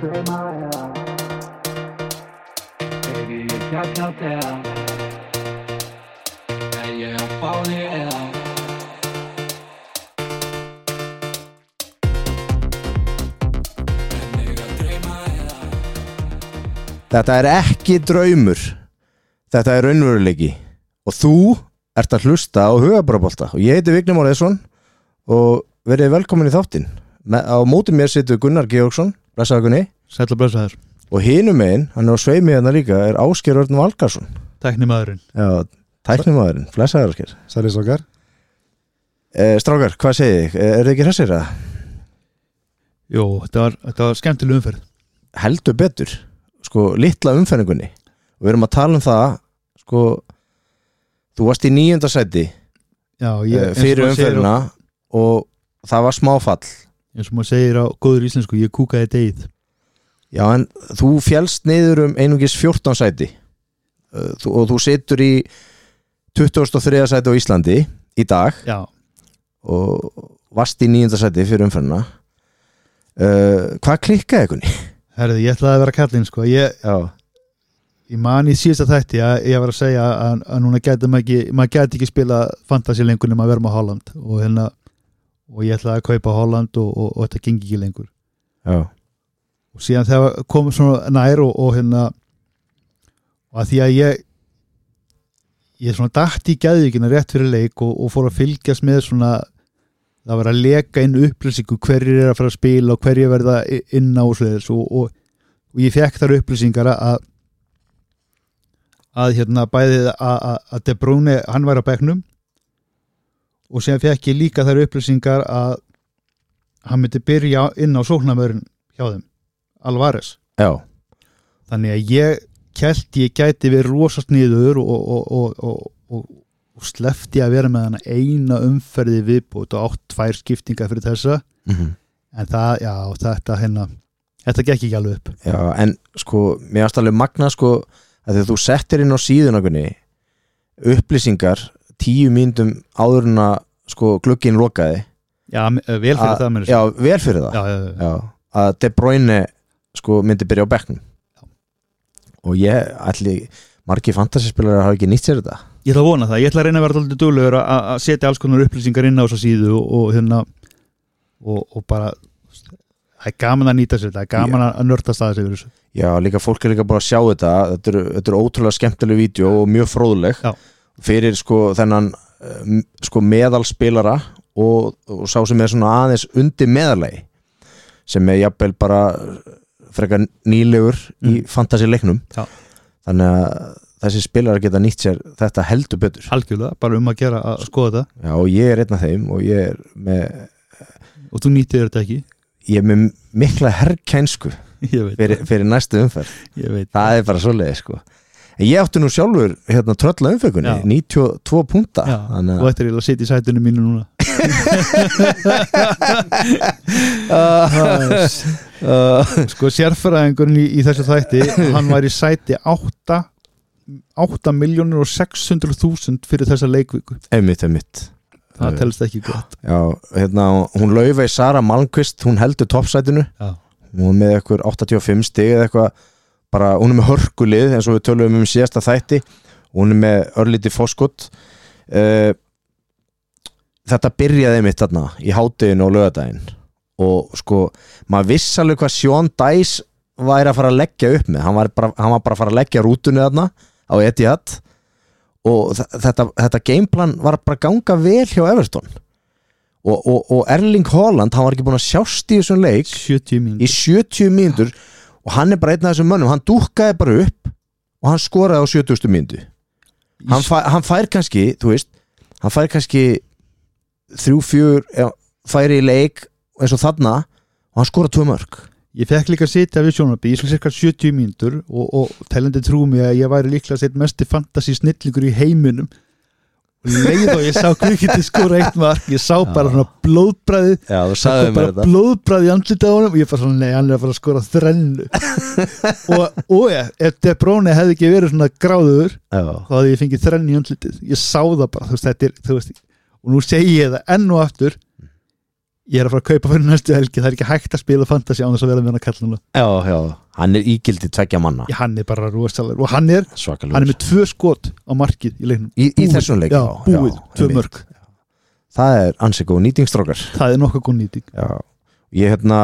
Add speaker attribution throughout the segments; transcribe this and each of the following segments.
Speaker 1: through my eyes. Baby, you got no doubt. And you're falling out.
Speaker 2: Þetta er ekki draumur Þetta er raunveruleiki Og þú ert að hlusta á hugabrabólta Og ég heiti Vignum Óreðsson Og verið velkomin í þáttinn Me- Á móti mér situr Gunnar Georgsson Blessaðakunni
Speaker 3: Sæll og blessa þér,
Speaker 2: Og hinum megin, hann er á sveimi hérna líka Er Ásker Örn Valkarsson
Speaker 3: tækni maðurinn
Speaker 2: Já, tæknimaðurinn, blessaður Ásker
Speaker 4: Sæli Sokar
Speaker 2: eh, Strákar, hvað segið þið? Er þið ekki hressir að?
Speaker 3: Jó, þetta var, þetta var skemmtileg umferð
Speaker 2: heldur betur sko, litla umferningunni og við erum að tala um það sko, þú varst í nýjönda sæti
Speaker 3: Já,
Speaker 2: yeah,
Speaker 3: eins og
Speaker 2: fyrir
Speaker 3: maður segir á-
Speaker 2: umferðina og það var smáfall
Speaker 3: Eins og maður segir á góður íslensku, ég kúkaði degið
Speaker 2: já en þú fjálst niður um einungis 14 sæti Uh, þú, og þú situr í 2003 sæti á Íslandi í dag
Speaker 3: Já,
Speaker 2: og varst í nýjönda sæti fyrir umferðina uh, hvað klikkaði ekkunni?
Speaker 3: herði, ég ætlaði að vera kallinn sko Ég,
Speaker 2: Já,
Speaker 3: ég man í síðasta þætti að ég var að segja að, að núna gæti maður ekki maður gæti ekki spila fantasi lengur nema að vera með Holland og, hérna, og ég ætlaði að kaupa Holland og, og, og þetta gengi ekki lengur
Speaker 2: já,
Speaker 3: og síðan þegar komum svona nær og, og hérna og að því að ég ég svona dætt í gæðvíkina rétt fyrir leik og, og fór að fylgjast með svona það var að leka inn upplýsingu hverjir er að fara að spila og hverjir verða i- inn á og svoleiðis og, og, og ég fekk þar upplýsingar að að hérna bæði að- að að De Bruyne hann var á bekknum og síðan fekk ég líka þær upplýsingar að hann myndi byrja inn á sóknamörn hjá þeim Alvarez
Speaker 2: já,
Speaker 3: þannig að ég kælt ég gæti verið rosast niður og, og, og, og, og, og slefti að vera með hana eina umferði viðbútt og átt tvær skiptingar fyrir þessa en það, já, þetta hérna þetta gekk ekki alveg upp
Speaker 2: Já, en sko, mér varst alveg magna sko, að þegar þú settir inn á síðunakunni upplýsingar tíu mínútum áður en að sko, glugginn lokaði
Speaker 3: já, m- eh, vel fyrir
Speaker 2: Að-
Speaker 3: það mér
Speaker 2: Ah, Já, vel fyrir það
Speaker 3: já, já, já.
Speaker 2: Já, að De Bruyne sko, myndi byrja á bekknum og ég allir margir fantasyspilar hafa ekki nýtt sér þetta
Speaker 3: ég ætla að vona það, ég ætla að reyna að vera alltaf duglegur að- að að setja alls konar upplýsingar inn á þessa síðu og, og hérna og, og bara það er gaman að nýta sér þetta, það er gaman að- að nörda staða sér fyrir þessu
Speaker 2: Já, líka fólk er líka bara að sjá þetta þetta eru, þetta eru ótrúlega skemmtileg vídeo og mjög fróðleg
Speaker 3: Já.
Speaker 2: fyrir sko þennan eh, m- sko meðalspilara og, og sá sem er svona aðeins undir meðalagi sem er jafnvel bara frekar nýlegur í fantasileiknum
Speaker 3: Mm. Já.
Speaker 2: þannig að þessi spilarar geta nýtt sér þetta heldur betur
Speaker 3: algjörlega, bara um að gera að skoða þetta
Speaker 2: Já, og ég er einn af þeim og ég er með,
Speaker 3: og þú nýttir þetta ekki
Speaker 2: ég er með mikla herrkænsku
Speaker 3: ég veit,
Speaker 2: fyrir, fyrir næstu umferð
Speaker 3: ég veit
Speaker 2: Það er bara svoleiði sko En Ég átti nú sjálfur hérna trölla umfengunni
Speaker 3: Já.
Speaker 2: 92 púnta
Speaker 3: Já,
Speaker 2: Þannig
Speaker 3: þú
Speaker 2: að
Speaker 3: ættir eiginlega að sitja í sætunum mínu núna sko sérfæraðingurinn í, í þessu þætti hann var í sæti 8 8 miljónir og 600 þúsund fyrir þessa leikviku
Speaker 2: einmitt, einmitt
Speaker 3: það
Speaker 2: Já.
Speaker 3: telst ekki gott
Speaker 2: Já, hérna, hún laufið Sara Malmqvist, hún heldur toppsætinu
Speaker 3: Já.
Speaker 2: hún er með eitthvað 85 stig eða eitthvað, bara hún er með hörkulið eins og við töluðum um í síðasta þætti hún er með örlítið fóskott uh, þetta byrjaði mitt þarna í háteginu og lögadaginn og sko, maður viss alveg hvað Sean Dice væri að fara að leggja upp með hann var bara, hann var bara að fara að leggja rútunni þarna á Etihad og þ- þetta, þetta gameplan var bara að ganga vel hjá Everton og, og, og Erling Haaland hann var ekki búin að sjást í þessum leik
Speaker 3: 70
Speaker 2: í
Speaker 3: mínútur
Speaker 2: 70 mínútur og hann er bara einn af þessum mönnum, hann dúkkaði bara upp og hann skoraði á 70 mínútu hann, fæ, hann fær kannski þú veist, hann fær kannski þrjú, fjör já, færi í leik eins og þarna og hann skoraði tvö mörg
Speaker 3: ég fekk líka að sitja við sjónarbi í svona cirka 70 mínútur og, og telandi trú mig að ég væri líklega að setja mesti fantasy snillingur í heiminum og leið og ég sá kvikið til skóra eitt mark ég sá bara svona blóðbræðið
Speaker 2: já, þú
Speaker 3: það kom bara blóðbræð í andlitið á honum og ég bara svona, nei, hann er að fara að skora þrennu og, og ég, ef De Bruyne hefði ekki verið svona gráður þá hefði ég fengið þrennu í andlitið ég sá það bara, þú veist, þetta er þú veist, og nú segi ég það enn og aftur ég er að fara að kaupa fyrir næstu helgi það er ekki hægt að spila fantasy á þess að vera með hann að kalla hann
Speaker 2: já, já, hann er ígildi tveggja manna
Speaker 3: hann er bara rosalega og hann er, hann er
Speaker 2: svakalur
Speaker 3: með tvö skot á markið í leiknum
Speaker 2: í, í
Speaker 3: Búið.
Speaker 2: þessum leik
Speaker 3: já, búið, tvö
Speaker 2: einmitt.
Speaker 3: mörg
Speaker 2: það er ansið góð nýtingstrókar
Speaker 3: það er nokkuð góð nýting
Speaker 2: já. ég hérna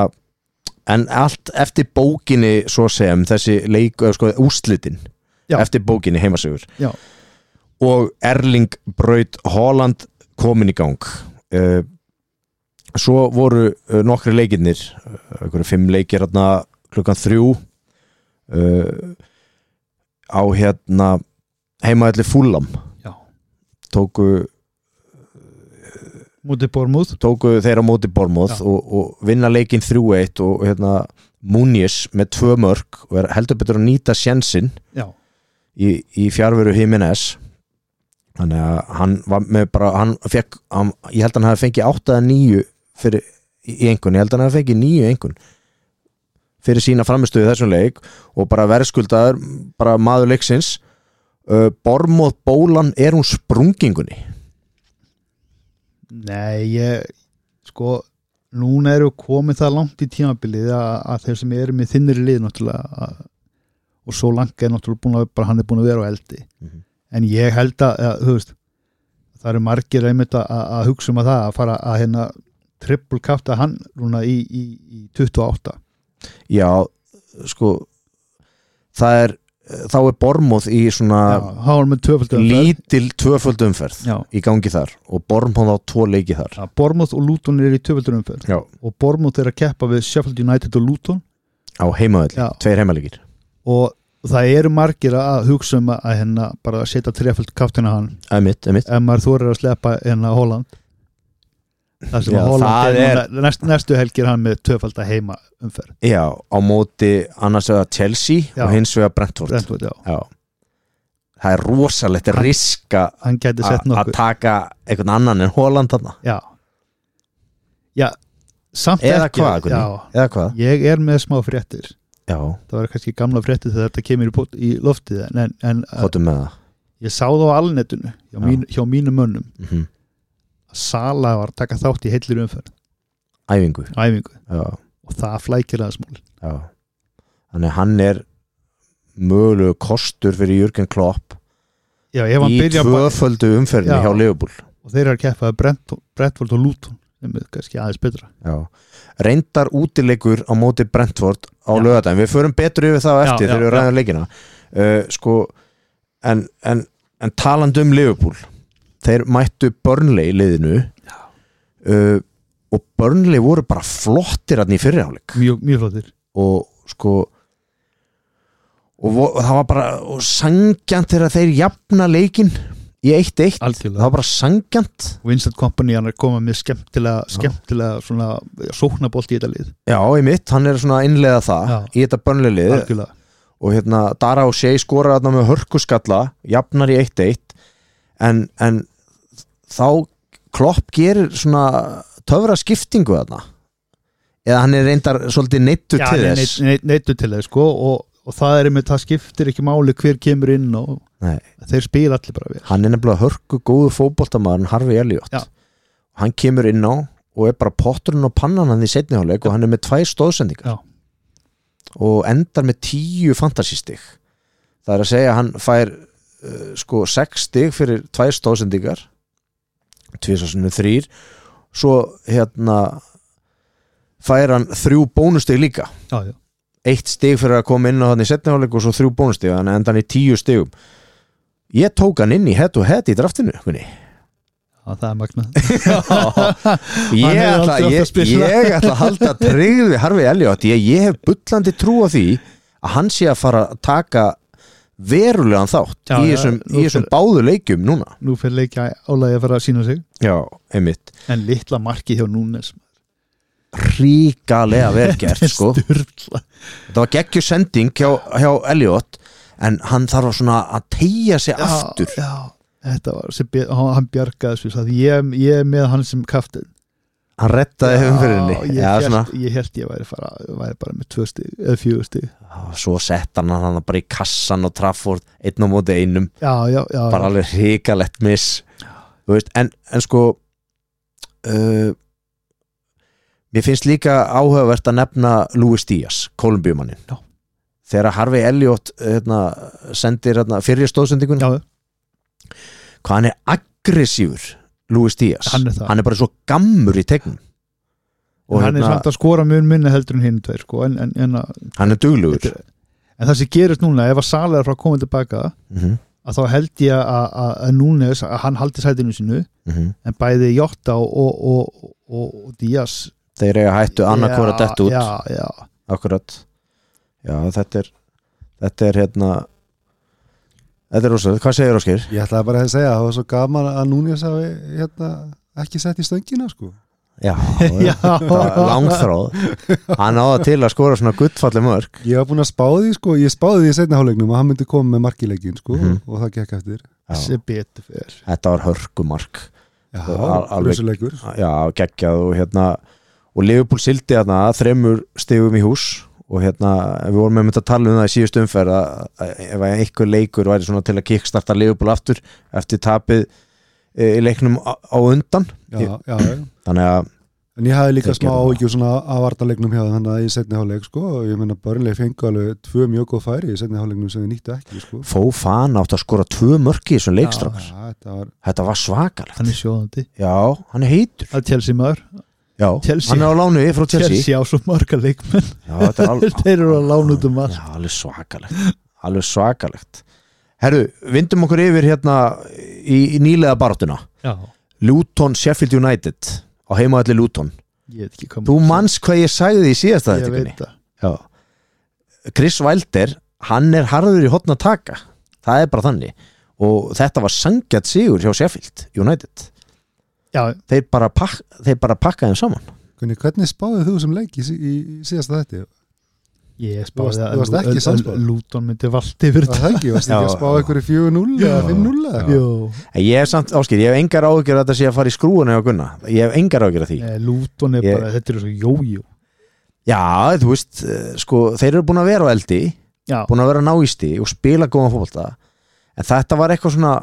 Speaker 2: en allt eftir bókinni svo sem þessi leik, eða sko, úslitin
Speaker 3: Já.
Speaker 2: eftir bókinni heimasugur
Speaker 3: Já.
Speaker 2: og Erling Braut Haaland komin í gang uh, svo voru uh, nokkri leikirnir uh, einhverju fimm leikir hérna klukkan þrjú uh, á hérna heimaðalli fúlam
Speaker 3: Já.
Speaker 2: tóku
Speaker 3: mútið Bormúð
Speaker 2: tóku þeir á móti Bormóð
Speaker 3: Já.
Speaker 2: og, og vinna leikinn 3-1 og hérna Múnis með tvö mörg og er heldur betur að nýta sjensinn
Speaker 3: já,
Speaker 2: í, í fjárveru Jimenez þannig að hann var með bara hann fekk, hann, ég held að hann hafi fengið 8 eða 9 fyrir, í í einhvern, ég held að hann hafi fengið 9 einhvern fyrir sína framistöðu þessum leik og bara verðskuldaður bara maður leiksins uh, Bormóð bólan er hún sprungingunni
Speaker 3: nei, ég sko, núna eru komið það langt í tímabilið að, að þeir sem eru með þinnri lið náttúrulega að, og svo langa er náttúrulega búin að bara hann er búin að vera á eldi
Speaker 2: Mhm.
Speaker 3: en ég held að, að þú veist það eru margir einmitt að, að- að hugsa um að það að fara að hérna triple kafta hann núna í, í, í 28
Speaker 2: Já, sko það er þá er Bormóð í svona
Speaker 3: Já, hann var með tvöfaldum
Speaker 2: lítil tvöföld umferð
Speaker 3: Já.
Speaker 2: í gangi þar og Bormóð á tvo leiki þar
Speaker 3: Bormóð og Luton er í tvöfaldum umferð
Speaker 2: Já.
Speaker 3: og Bormóð er að keppa við Sheffield United og Luton
Speaker 2: á heimaðall,
Speaker 3: Já.
Speaker 2: tveir heimalegir
Speaker 3: og það eru margir að hugsa um að hérna bara að setja trefald kaftina hann
Speaker 2: Emitt, emitt
Speaker 3: ef maður þorir að sleppa hérna Holland þar sem
Speaker 2: Já,
Speaker 3: að Holland
Speaker 2: það
Speaker 3: er, núna- næst, næstu helgir hann með tvöfalda heima umferð
Speaker 2: Já, á móti annars vegar Chelsea
Speaker 3: Já.
Speaker 2: og hins vegar Brentford
Speaker 3: Brentford, já.
Speaker 2: Já Það er rosalegt
Speaker 3: Hann-
Speaker 2: riska
Speaker 3: hann gæti
Speaker 2: a-
Speaker 3: sett
Speaker 2: að
Speaker 3: nokkuð
Speaker 2: taka einhvern annan en Holland þarna
Speaker 3: já. já, samt
Speaker 2: Eða
Speaker 3: ekki
Speaker 2: hvað, Gunni?
Speaker 3: já,
Speaker 2: Eða hvað?
Speaker 3: ég er með smá fréttir
Speaker 2: Já,
Speaker 3: það var kannski gamla fréttir þegar þetta kemur í, pot- í loftið en, en, en uh,
Speaker 2: hóttum með það
Speaker 3: ég sá það á alnetinu hjá,
Speaker 2: Já.
Speaker 3: mín, hjá mínum mönnum
Speaker 2: mm
Speaker 3: að Sala var að taka þátt í heillir umferð
Speaker 2: Æfingu
Speaker 3: æfingu
Speaker 2: Já,
Speaker 3: og það flækir aðeins mál
Speaker 2: Já. Þannig að hann er mögulegu kostur fyrir Jürgen Klopp
Speaker 3: já, ef hann
Speaker 2: í
Speaker 3: byrja bara
Speaker 2: tvöföldu umferðinu
Speaker 3: Já.
Speaker 2: hjá Liverpool
Speaker 3: og þeir eru að keppa við Brentford Brentford og Luton sem er kannski aðeins betra
Speaker 2: Já. reyndar útileikur á móti Brentford á
Speaker 3: Já.
Speaker 2: lögadaginn, við förum betur yfir það á
Speaker 3: Já,
Speaker 2: eftir
Speaker 3: já,
Speaker 2: þegar við
Speaker 3: já.
Speaker 2: ræðum leikina uh, sko en, en, en talandi um Liverpool þeir mættu Burnley liðinu uh, og Burnley voru bara flottir hann í fyrirháleik
Speaker 3: mjög, mjög flottir
Speaker 2: og sko og vo- það var bara og sangjant þegar þeir jafna leikin í 1-1 það
Speaker 3: algjörlega
Speaker 2: var bara sangjant
Speaker 3: Vincent Company hann er komað með skemmtilega, skemmtilega svona sóknabolt í þetta lið
Speaker 2: já, í mitt, hann er svona að innleiða það
Speaker 3: Já.
Speaker 2: í þetta Burnley lið
Speaker 3: algjörlega
Speaker 2: og hérna Dara og Shea skorar þarna með hörkuskalla jafnar í 1-1 en, en þá Klopp gerir svona töfra skiptingu þarna eða hann er reyndar svolítið neittu
Speaker 3: Já,
Speaker 2: til
Speaker 3: nei,
Speaker 2: þess
Speaker 3: nei, nei, neittu til þess sko og, og það er með það skiptir ekki máli hver kemur inn og
Speaker 2: Nei.
Speaker 3: þeir spila allir bara vel
Speaker 2: hann er nefnilega hörku góðu fótboltamaður Harfi Elliot
Speaker 3: Já.
Speaker 2: hann kemur inn á og er bara potturinn og pannan hann í setniháleik og hann er með tvær stóðsendingar
Speaker 3: Já.
Speaker 2: og endar með tíu fantasístig það er að segja að hann fær uh, sko sex stig fyrir tvær stóðsendingar tvisasinu þrýr svo hérna fær hann þrjú bónustig líka
Speaker 3: já, já.
Speaker 2: eitt stig fyrir að koma inn á þannig setniháleik og svo þrjú bónustig þannig enda hann í tíu stigum ég tók hann inn í head og head í draftinu kunni.
Speaker 3: Já, það er magnað
Speaker 2: ég,
Speaker 3: Hann hefur
Speaker 2: ætla,
Speaker 3: aldrei átt að
Speaker 2: ég,
Speaker 3: spila.
Speaker 2: ég ætla að halda tryggð við Harfi Elliot ég, ég hef bullandi trú á því að hann sé að fara að taka verulegan þátt
Speaker 3: Já,
Speaker 2: í
Speaker 3: já,
Speaker 2: þessum,
Speaker 3: nú
Speaker 2: í þessum
Speaker 3: fer-
Speaker 2: báðu leikjum núna
Speaker 3: nú fyrir leikja álægi að fara að sína sig
Speaker 2: já, einmitt
Speaker 3: en litla marki hjá Núnes
Speaker 2: ríkalega vel gert sko
Speaker 3: Sturla.
Speaker 2: það var geggjur sending hjá, hjá Elliot en hann þarf að svona að tegja sig
Speaker 3: Já,
Speaker 2: aftur
Speaker 3: já, þetta var sem be- hann hann bjargaði þessu það ég, ég er með hann sem kaftin
Speaker 2: hann rettaði umfyrinni
Speaker 3: ég,
Speaker 2: já,
Speaker 3: hélt-
Speaker 2: svona
Speaker 3: ég held ég væri, fara, væri bara með tvö stig eða fjögur stig
Speaker 2: og Ah, svo sett hann hann bara í kassan og Trafford einn á móti einum
Speaker 3: já, já, já,
Speaker 2: bara alveg hrikalett miss þú veist, en, en sko uh, Mér finnst líka áhugavert að nefna Louis Díaz, Kolumbíumannin
Speaker 3: Já.
Speaker 2: þegar Harvey Elliot hérna, sendir hérna, fyrir stóðsendingun
Speaker 3: já,
Speaker 2: hvað hann er aggressífur Louis Díaz,
Speaker 3: Hann er það.
Speaker 2: bara svo gammur í tegnum og
Speaker 3: hann er
Speaker 2: hérna,
Speaker 3: samt að skora mun minna heldur en hinn tveir sko, en, en, en, að-
Speaker 2: hann er duglugur
Speaker 3: þetta er- en það sem gerist núna ef að Sala er frá að koma tilbaka
Speaker 2: Mhm,
Speaker 3: að þá held ég að, að, að Núnes að hann haldi sætinu sínu
Speaker 2: mhm.
Speaker 3: en bæði Jóta og, og, og, og, og Díaz
Speaker 2: þeir eiga hættu annarkvora dett út
Speaker 3: já, já,
Speaker 2: akkurat já þetta er þetta er hérna þetta er rosalega, hvað segir Óskir?
Speaker 4: Ég ætlaði bara að segja, það var svo gaman að Núnes hafi hérna, ekki sett í stöngina sko.
Speaker 2: já,
Speaker 3: já.
Speaker 2: bara langþráð hann áða til að skora svona guttfalli mörg
Speaker 4: Ég var búin að spá því, sko, ég spáði því í setna hálugnum að hann myndi koma með markilegin sko,
Speaker 2: Mhm.
Speaker 4: og það gekk eftir.
Speaker 2: já,
Speaker 3: sem betur fyrr
Speaker 2: þetta var hörkumark
Speaker 4: Já,
Speaker 2: Al- alveg-
Speaker 4: brusuleikur.
Speaker 2: já, geggjað og hérna og Liverpool sildi hérna að þremur stigum í hús og hérna við vorum með að tala um það í síðustu umferð að, að ef einhver leikur væri svona til að kickstarta Liverpool aftur eftir tapið e, í leiknum á, á undan
Speaker 4: Já, já, já.
Speaker 2: þannig að
Speaker 4: En ég hafði líka
Speaker 2: Þeir
Speaker 4: smá
Speaker 2: gerðu það.
Speaker 4: áhyggjur svona að vartalegnum hjá þannig að í setni háleik sko, og ég meina börnlega fengu alveg tvö mjög góð færi í setni hálegnum sem þið nýttu ekki sko.
Speaker 2: Fofana átt að skora tvö mörki í þessum
Speaker 4: Já,
Speaker 2: leikstrákar
Speaker 4: þetta var,
Speaker 2: þetta var svakalegt
Speaker 3: hann er sjóðandi,
Speaker 2: já, hann er heitur
Speaker 3: að Chelsea maður
Speaker 2: já,
Speaker 3: Chelsea.
Speaker 2: hann er á lánu frá Chelsea,
Speaker 3: Chelsea á svo marga leikmenn
Speaker 2: Já, þetta er alveg,
Speaker 3: Þeir eru að lána út um allt.
Speaker 2: já, alveg svakalegt alveg svakalegt herru, vindum okkur yfir hérna í, í nýlega baráttuna
Speaker 3: já,
Speaker 2: Luton Sheffield United á heimaðalli Luton
Speaker 3: ég veit ekki hvað
Speaker 2: þú manns hvað ég sagði í síðasta
Speaker 3: ég
Speaker 2: þættingunni.
Speaker 3: veit það
Speaker 2: Já. Chris Wilder hann er harður í hotna taka það er bara þannig og þetta var sangjart sigur hjá Sheffield United
Speaker 3: já,
Speaker 2: þeir bara, pak þeir bara pakka þeim saman
Speaker 4: hvernig, hvernig spáðið þú sem leik í, sí- í, í síðasta þetta?
Speaker 3: ég
Speaker 4: varst-
Speaker 3: spáði
Speaker 4: þú varst ekki
Speaker 3: að
Speaker 4: sannspáð.
Speaker 3: Lúton myndi valdi fyrir
Speaker 4: Það ekki, varst ekki að
Speaker 2: Já.
Speaker 4: spá einhverju 4-0 eða 5-0 eða eitthvað?
Speaker 3: Jú,
Speaker 2: en ég hef samt áskil, ég hef engar ágjör að þetta sé að fara í skrúuna hjá Gunna, ég hef engar ágjör að því
Speaker 3: Lúton er
Speaker 2: Ég-
Speaker 3: bara, þetta er svo jójó
Speaker 2: já, þú veist, eh, sko þeir eru búin að vera á eldi
Speaker 3: Já,
Speaker 2: búin að vera náisti og spila góðan fótbolta en þetta var eitthvað svona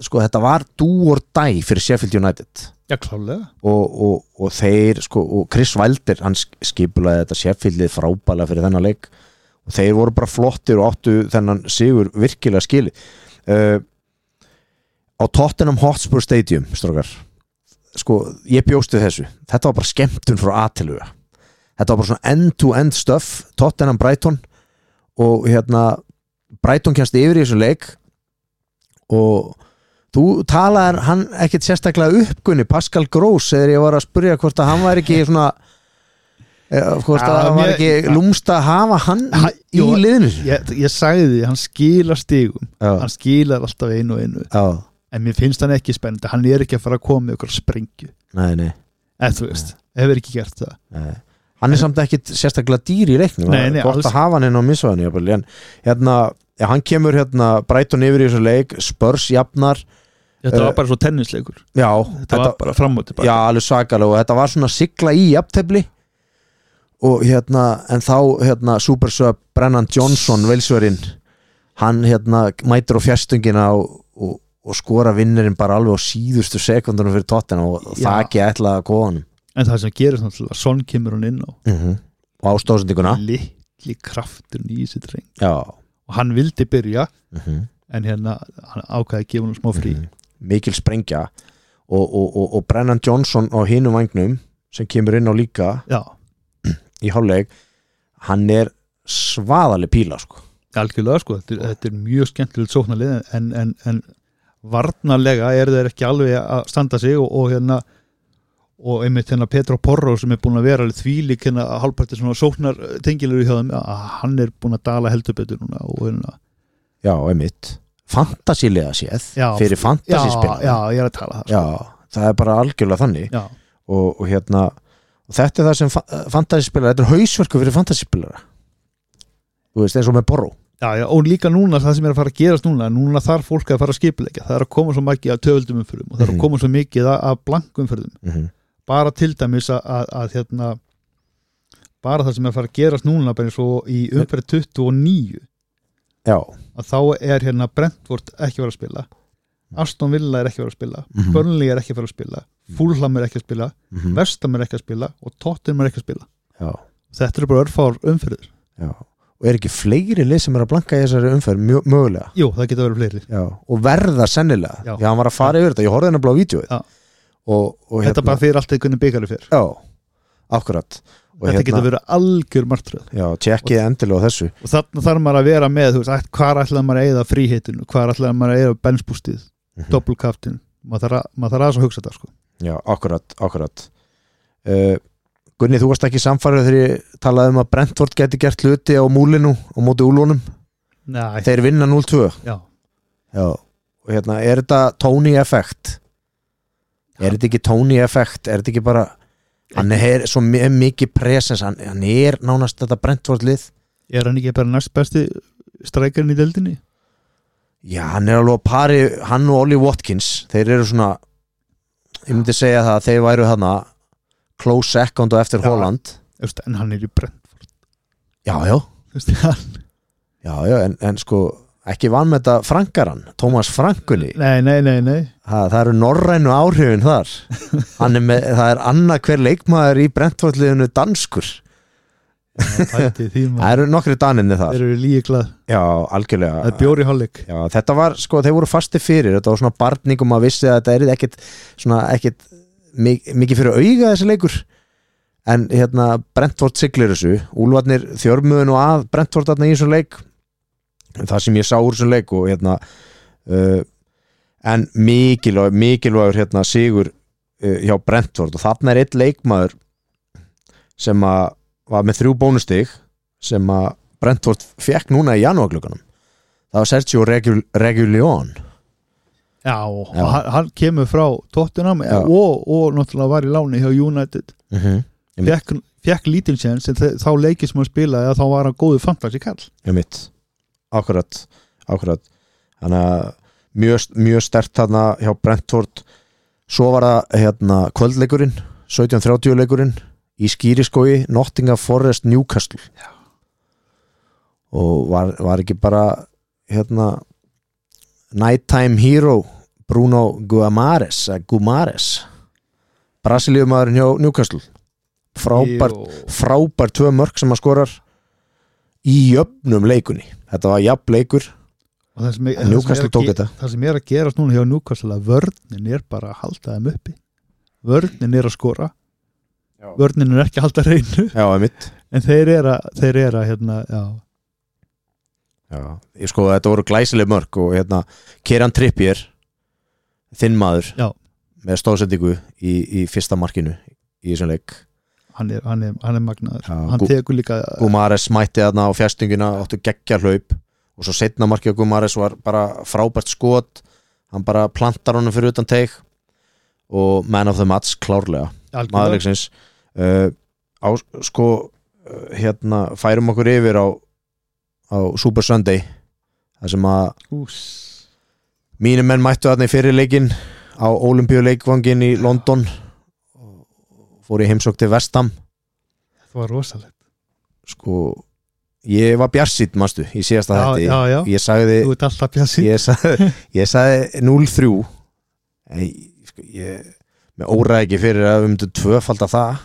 Speaker 2: sko þetta var do or die fyrir Sheffield United
Speaker 3: já klálega
Speaker 2: og, og, og þeir sko og Chris Wilder hann sk- skipulaði þetta Sheffieldið frábæla fyrir þennan leik og þeir voru bara flottir og áttu þennan sigur virkilega skili uh, á Tottenham Hotspur Stadium strókar sko ég bjóstu þessu þetta var bara skemmtun frá aðtiluga þetta var bara svona end to end stuff Tottenham Brighton og hérna Brighton kjast yfir í þessum leik og Þú talaðir hann ekkit sérstaklega uppgunni Pascal Gross eða ég var að spurja hvort að hann væri ekki svona eh, hvort að
Speaker 3: Já,
Speaker 2: hann væri
Speaker 3: mér-
Speaker 2: ekki lúmst að hafa hann
Speaker 3: Ha-
Speaker 2: í
Speaker 3: jú,
Speaker 2: liðinu sínu.
Speaker 3: ég, ég sagði því, hann skilar stigum
Speaker 2: Já,
Speaker 3: hann skilar alltaf einu og einu
Speaker 2: já,
Speaker 3: en mér finnst hann ekki spennandi, hann er ekki að fara að koma með okkur sprengju,
Speaker 2: nei, nei,
Speaker 3: en þú veist hefur ekki gert það,
Speaker 2: nei Hann er samt ekkit sérstaklega dýr í leiknum
Speaker 3: Nei, nei,
Speaker 2: hvort
Speaker 3: alls-
Speaker 2: að hafa hann inn á missaðinu jafnvel, en hérna, já, hann kemur hérna Brighton yfir í þessu leik, Spurs jafnar
Speaker 3: þetta
Speaker 2: Eh,
Speaker 3: var bara svo tennisleikur þetta,
Speaker 2: Já,
Speaker 3: var bara framóti bara.
Speaker 2: Já, alveg svakalega og þetta var svona sigla í jafntefli og hérna en þá hérna Supersub Brennan Johnson velsverinn hann hérna mætir á fjastungina og, og, og skora vinnurinn bara alveg á síðustu sekundunum fyrir tóttina og
Speaker 3: Já.
Speaker 2: það ekki ætla að góða hann
Speaker 3: en það sem gerir þannig að Son kemur hann inn á
Speaker 2: og ástóðsendinguna
Speaker 3: Mhm. litli krafturinn í þessi dreng
Speaker 2: Já
Speaker 3: og hann vildi byrja,
Speaker 2: mm
Speaker 3: en hérna hann ákvaði að gefa hann smá frí
Speaker 2: mikil sprengja og, og, og, og Brennan Johnson á hinum vagnum sem kemur inn á líka
Speaker 3: já,
Speaker 2: í hálfleik hann er svaðaleg píla sko
Speaker 3: algjörlega sko þetta er, þetta er mjög skemmtilegt sóknarlið en, en, en varnarlega er þeir ekki alveg að standa sig og, og hérna og einmitt hérna Petro Porro sem er búin að vera alveg þvílík hérna að hálfparti svona sóknar tengilur í hjá þeim að hann er búin að dala heldur betur núna og hérna
Speaker 2: Já, einmitt Fantasílega séð
Speaker 3: Já.
Speaker 2: fyrir
Speaker 3: já,
Speaker 2: fantasíspil
Speaker 3: já, ég er að tala það sko.
Speaker 2: það er bara algjörlega þannig
Speaker 3: já,
Speaker 2: og, og hérna og þetta er það sem fa fantasíspil þetta er hausverku fyrir fantasíspil Þú veist, eins og með borru
Speaker 3: já, já, og líka núna það sem er að fara að gerast núna núna þarf fólk að fara að skipilegja það er að koma svo mikið af töfaldum umfyrðum og það er að
Speaker 2: Mhm.
Speaker 3: koma svo mikið af- af blankum umfyrðum
Speaker 2: mm -hmm.
Speaker 3: bara til dæmis að, að, að hérna bara það sem er að fara að gerast núna bara eins og í umferð 29
Speaker 2: Já,
Speaker 3: að þá er hérna Brentford ekki að vera að spila Aston Villa er ekki að fara að spila
Speaker 2: Mhm.
Speaker 3: Burnley er ekki að fara að spila Fulham er ekki að spila,
Speaker 2: Mhm.
Speaker 3: Vestam er ekki að spila og Tottenham er ekki að spila
Speaker 2: Já,
Speaker 3: þetta eru bara örfár umfyrir
Speaker 2: já. og er ekki fleiri lið sem er að blanka í þessari umferð mjö- mögulega
Speaker 3: Jú, það geta verið fleiri
Speaker 2: já. og verða sennilega
Speaker 3: Já.
Speaker 2: já. hann var að fara yfir þetta, ég horfði hennar blá vídeo
Speaker 3: Já.
Speaker 2: og, og hérna-
Speaker 3: Þetta bara fyrir allt einhvern byggari fyrir
Speaker 2: já, akkurat og hérna-
Speaker 3: Þetta geta verið algjör martröð
Speaker 2: já, tjekkið endilega á þessu
Speaker 3: og þarna þarf maður að vera með þú veist, ætt- hvar ætlaði maður að eyða fríhitinu hvar ætlaði maður að eyða bensbústið
Speaker 2: Mhm.
Speaker 3: doppelkaftin, maður þarf að, maður þarf aðeins að hugsa þetta sko.
Speaker 2: já, akkurat, akkurat uh, Gunni, þú varst ekki samfærið þegar ég talaði um að Brentford geti gert hluti á múlinu og móti úlunum
Speaker 3: Nei,
Speaker 2: þeir vinna 0-2
Speaker 3: já,
Speaker 2: já. og hérna, er þetta Tony effekt er þetta ekki Tony effekt er þetta ekki bara hann er svo mi- mikið presens hann, hann er nánast þetta Brentford lið
Speaker 3: er hann ekki bara næst besti strækarinn í deldinni?
Speaker 2: Já, hann er alveg að pari hann og Ollie Watkins, þeir eru svona ég myndi segja það að þeir væru þarna close second og eftir
Speaker 3: Já.
Speaker 2: Holland
Speaker 3: Þú veist, en hann er í brenn
Speaker 2: Já, já,
Speaker 3: Þú veist, hann-
Speaker 2: já, já en, en sko ekki vann með þetta Frankaran Thomas Frankunni,
Speaker 3: nei, nei, nei, nei
Speaker 2: það, það eru norrænu áhrifin þar Hann er með, það er annað hver leikmaður í Brentfordliðinu danskur,
Speaker 3: Ætti, því
Speaker 2: það
Speaker 3: maður,
Speaker 2: eru nokkri daninni
Speaker 3: þeir
Speaker 2: þar
Speaker 3: eru líka glað
Speaker 2: Já,
Speaker 3: það er
Speaker 2: algjörlega
Speaker 3: bjóri hálfleik
Speaker 2: Já, þetta var, sko, þeir voru fasti fyrir þetta var svona barning og maður vissi að þetta er ekkit, svona ekkit mik mikið fyrir auga þessi leikur en hérna Brentford siglir þessu Úlfarnir þjörmuðu nú að Brentford þarna í þessum leik það sem ég sá úr þessum leik og hérna uh, en mikilvægur, mikilvægur hérna sigur uh, hjá Brentford og þarna er eitt leikmaður sem að var með þrjú bónustig sem að Brentford fekk núna í janúarglökanum það var Sergio Regul Reguljón
Speaker 3: Já,
Speaker 2: Já.
Speaker 3: já. Hann, hann kemur frá Tottenham
Speaker 2: Já.
Speaker 3: og, og náttúrulega var í láni hjá United
Speaker 2: mm -hmm. Einmitt.
Speaker 3: fekk, fekk lítinn séns en þe- þá leikið sem hann spilaði að þá var hann góðu fantasy kall
Speaker 2: mitt akkurat, akkurat þannig að mjög, mjög stert þarna hjá Brentford svo var það hérna kvöldleikurinn 17.30 leikurinn í skýriskogi Nottingham Forest Newcastle Já. og var, var ekki bara hérna nighttime hero Bruno Guamares eh, Gumares Brasiliumæðurinn hjá Newcastle frábært
Speaker 3: Jú.
Speaker 2: frábær tvö mörg sem að skorar í jöfnum leikunni þetta var jöfn leikur
Speaker 3: og það sem,
Speaker 2: En
Speaker 3: ég- það sem
Speaker 2: Newcastle
Speaker 3: er að
Speaker 2: tók
Speaker 3: ge-
Speaker 2: þetta.
Speaker 3: það sem er að gerast núna hjá Newcastle að vörnin er bara að halda þeim uppi vörnin er að skora
Speaker 2: Já.
Speaker 3: vörnin er ekki að halda reynu
Speaker 2: já, einmitt
Speaker 3: en þeir eru að, þeir eru að hérna, já,
Speaker 2: já. ég sko þetta voru glæsileg mörg og hérna Keran Trippier þinn maður
Speaker 3: Já.
Speaker 2: með stóðsendingu í, í fyrsta markinu í þessum leik
Speaker 3: hann er, hann er, hann er magnaður
Speaker 2: Já,
Speaker 3: hann
Speaker 2: gú-
Speaker 3: tekur líka
Speaker 2: Gumares mætti þarna á fjastingina áttu geggja hlaup og svo setna markið á Gumares var bara frábært skot hann bara plantar honum fyrir utan teik og man of the match klárlega
Speaker 3: algjörlega,
Speaker 2: maðurleiksins uh, á, sko uh, hérna færum okkur yfir á, á Super Sunday þar sem að
Speaker 3: ús
Speaker 2: mínum menn mættu þarna í fyrirleikin á Olympiuleikvangin í London og fór í heimsók til Vestam
Speaker 3: það var rosalegt
Speaker 2: sko ég var bjarsýtt manstu í síðasta
Speaker 3: já,
Speaker 2: þætti
Speaker 3: já, já,
Speaker 2: ég sagði
Speaker 3: þú ert alltaf pjassi
Speaker 2: ég sagði, ég sagði 0-3 en ég, sko, ég með óraði ekki fyrir að við myndum tvöfalda það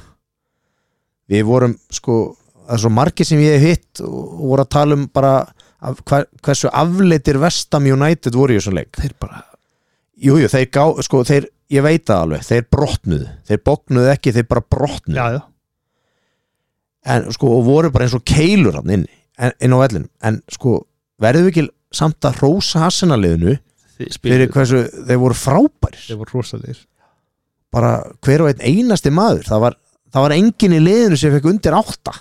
Speaker 2: við vorum sko það er svo margir sem ég hef hitt og og voru að tala um bara af, hva- hversu afleitir Vestam United voru í þessum leik
Speaker 3: þeir bara,
Speaker 2: jújú, jú, þeir gá, sko þeir, ég veit það alveg, þeir brotnuðu þeir bóknuðu ekki, þeir bara brotnuðu
Speaker 3: já, já,
Speaker 2: en sko, og voru bara eins og keilur hann inn, inn á vellinu en sko, verðum við ekki samt að rósa hassinaliðinu fyrir hversu þeir voru frábærir
Speaker 3: þeir voru rosalegir
Speaker 2: bara hver og einn einasti maður það var, það var engin í liðinu sem fekk undir átta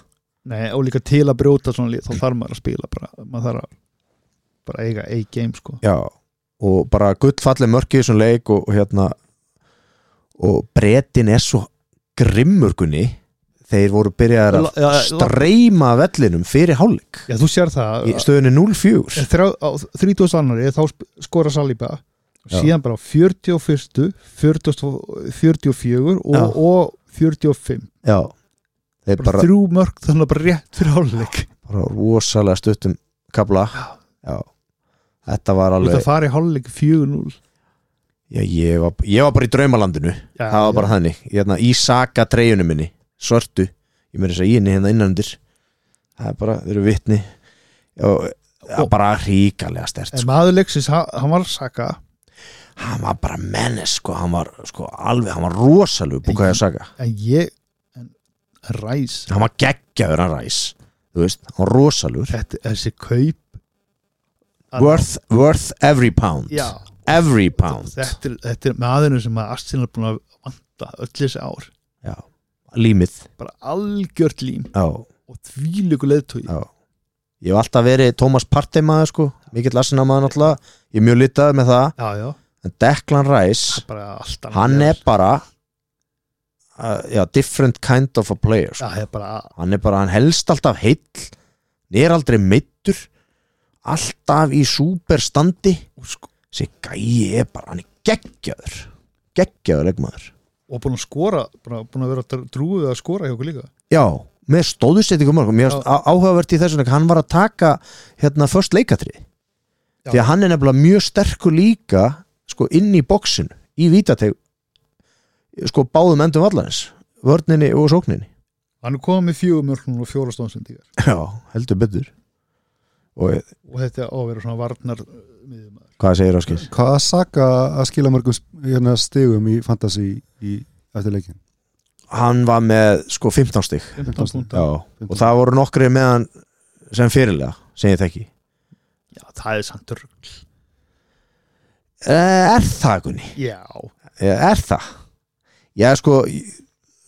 Speaker 3: Nei, og líka til að brjóta svona lið þá þarf maður að spila bara, maður þarf að bara eiga eitt game sko
Speaker 2: já. og bara gullfalli mörki í þessum leik og, og hérna og brettin er svo grimmurkunni þeir voru byrjaðar að
Speaker 3: La- já, la-
Speaker 2: streyma af vellinum fyrir hálfleik
Speaker 3: Já, þú sér það
Speaker 2: í stöðunni 0-4
Speaker 3: þrjá, á 32. annari þá sp- skora Saliba
Speaker 2: Já.
Speaker 3: síðan bara á 41. 40, 44
Speaker 2: Já.
Speaker 3: og, og 45
Speaker 2: já, þeir
Speaker 3: bara,
Speaker 2: bara,
Speaker 3: þrjú mörg þannig að bara rétt fyrir hálfleik
Speaker 2: bara rosalega stuttum kabla já, þetta var
Speaker 3: þú ert
Speaker 2: alveg
Speaker 3: að fara í hálfleik 4-0
Speaker 2: Já, ég, var, ég var bara í draumalandinu
Speaker 3: Já,
Speaker 2: það var
Speaker 3: já.
Speaker 2: bara þannig hérna, í saka treyjunum minni, svörtu ég meira þess að segja í henni hérna innanundir það er bara, þeir eru vitni og það er
Speaker 3: Og-
Speaker 2: bara ríkalega stert
Speaker 3: en
Speaker 2: sko.
Speaker 3: maður leiksins, hann, hann var saka
Speaker 2: hann var bara mennes sko, hann var sko, alveg, hann var rosalug búkaði að saka,
Speaker 3: en ég en, ræs,
Speaker 2: hann var geggjaður hann ræs, þú veist, hann var rosalur
Speaker 3: þetta, þessi kaup Að-
Speaker 2: worth, worth every pound
Speaker 3: já,
Speaker 2: every pound
Speaker 3: þetta, er- þetta er maðurinn sem að Arsenal er búin að vanda öll þessi ár
Speaker 2: já. límið
Speaker 3: bara algjört lím
Speaker 2: já,
Speaker 3: og þvílíku leðtói
Speaker 2: já. ég hef alltaf verið Thomas Partey maður sko, mikill lasina maður náttúrulega ég er mjög litaður með það
Speaker 3: já, já,
Speaker 2: en Declan Rice
Speaker 3: bara allt annað
Speaker 2: hann er
Speaker 3: leður.
Speaker 2: bara uh, já, different kind of a player
Speaker 3: Já,
Speaker 2: sko.
Speaker 3: það er bara,
Speaker 2: hann er bara, hann helst alltaf heill er aldrei meittur alltaf í superstandi
Speaker 3: sko,
Speaker 2: þessi gæi er bara, hann er geggjaður geggjaður leikmaður
Speaker 3: og búin að skora búin að, búin að vera dr- drúið að skora hjá okkur líka
Speaker 2: já, með stóðusettingum mörgum mér finnst
Speaker 3: Já.
Speaker 2: á- áhugavert í þessu leik, hann var að taka hérna först leikatrið því að hann er nefnilega mjög sterkur líka sko inn í bóksinu í vítateg sko báðum endum vallarins vörninni og sókninni
Speaker 3: hann er komið með fjögur mörgnum og fjóra stónsendingar
Speaker 2: já, heldur betur og eh,
Speaker 3: og þetta á að vera svona varnar miðjumæður.
Speaker 2: hvað segir Áskis?
Speaker 4: Hvað saka að skila mörgum sp- hérna, stigum í fantasy í eftir leikin?
Speaker 2: hann var með sko 15 stig
Speaker 3: 15 púnta
Speaker 2: já, og það voru nokkri með hann sem fyrirlega, segir það ekki
Speaker 3: Já, það er samt rugl
Speaker 2: Eh, er það Gunni?
Speaker 3: Já,
Speaker 2: Eh, er það? já sko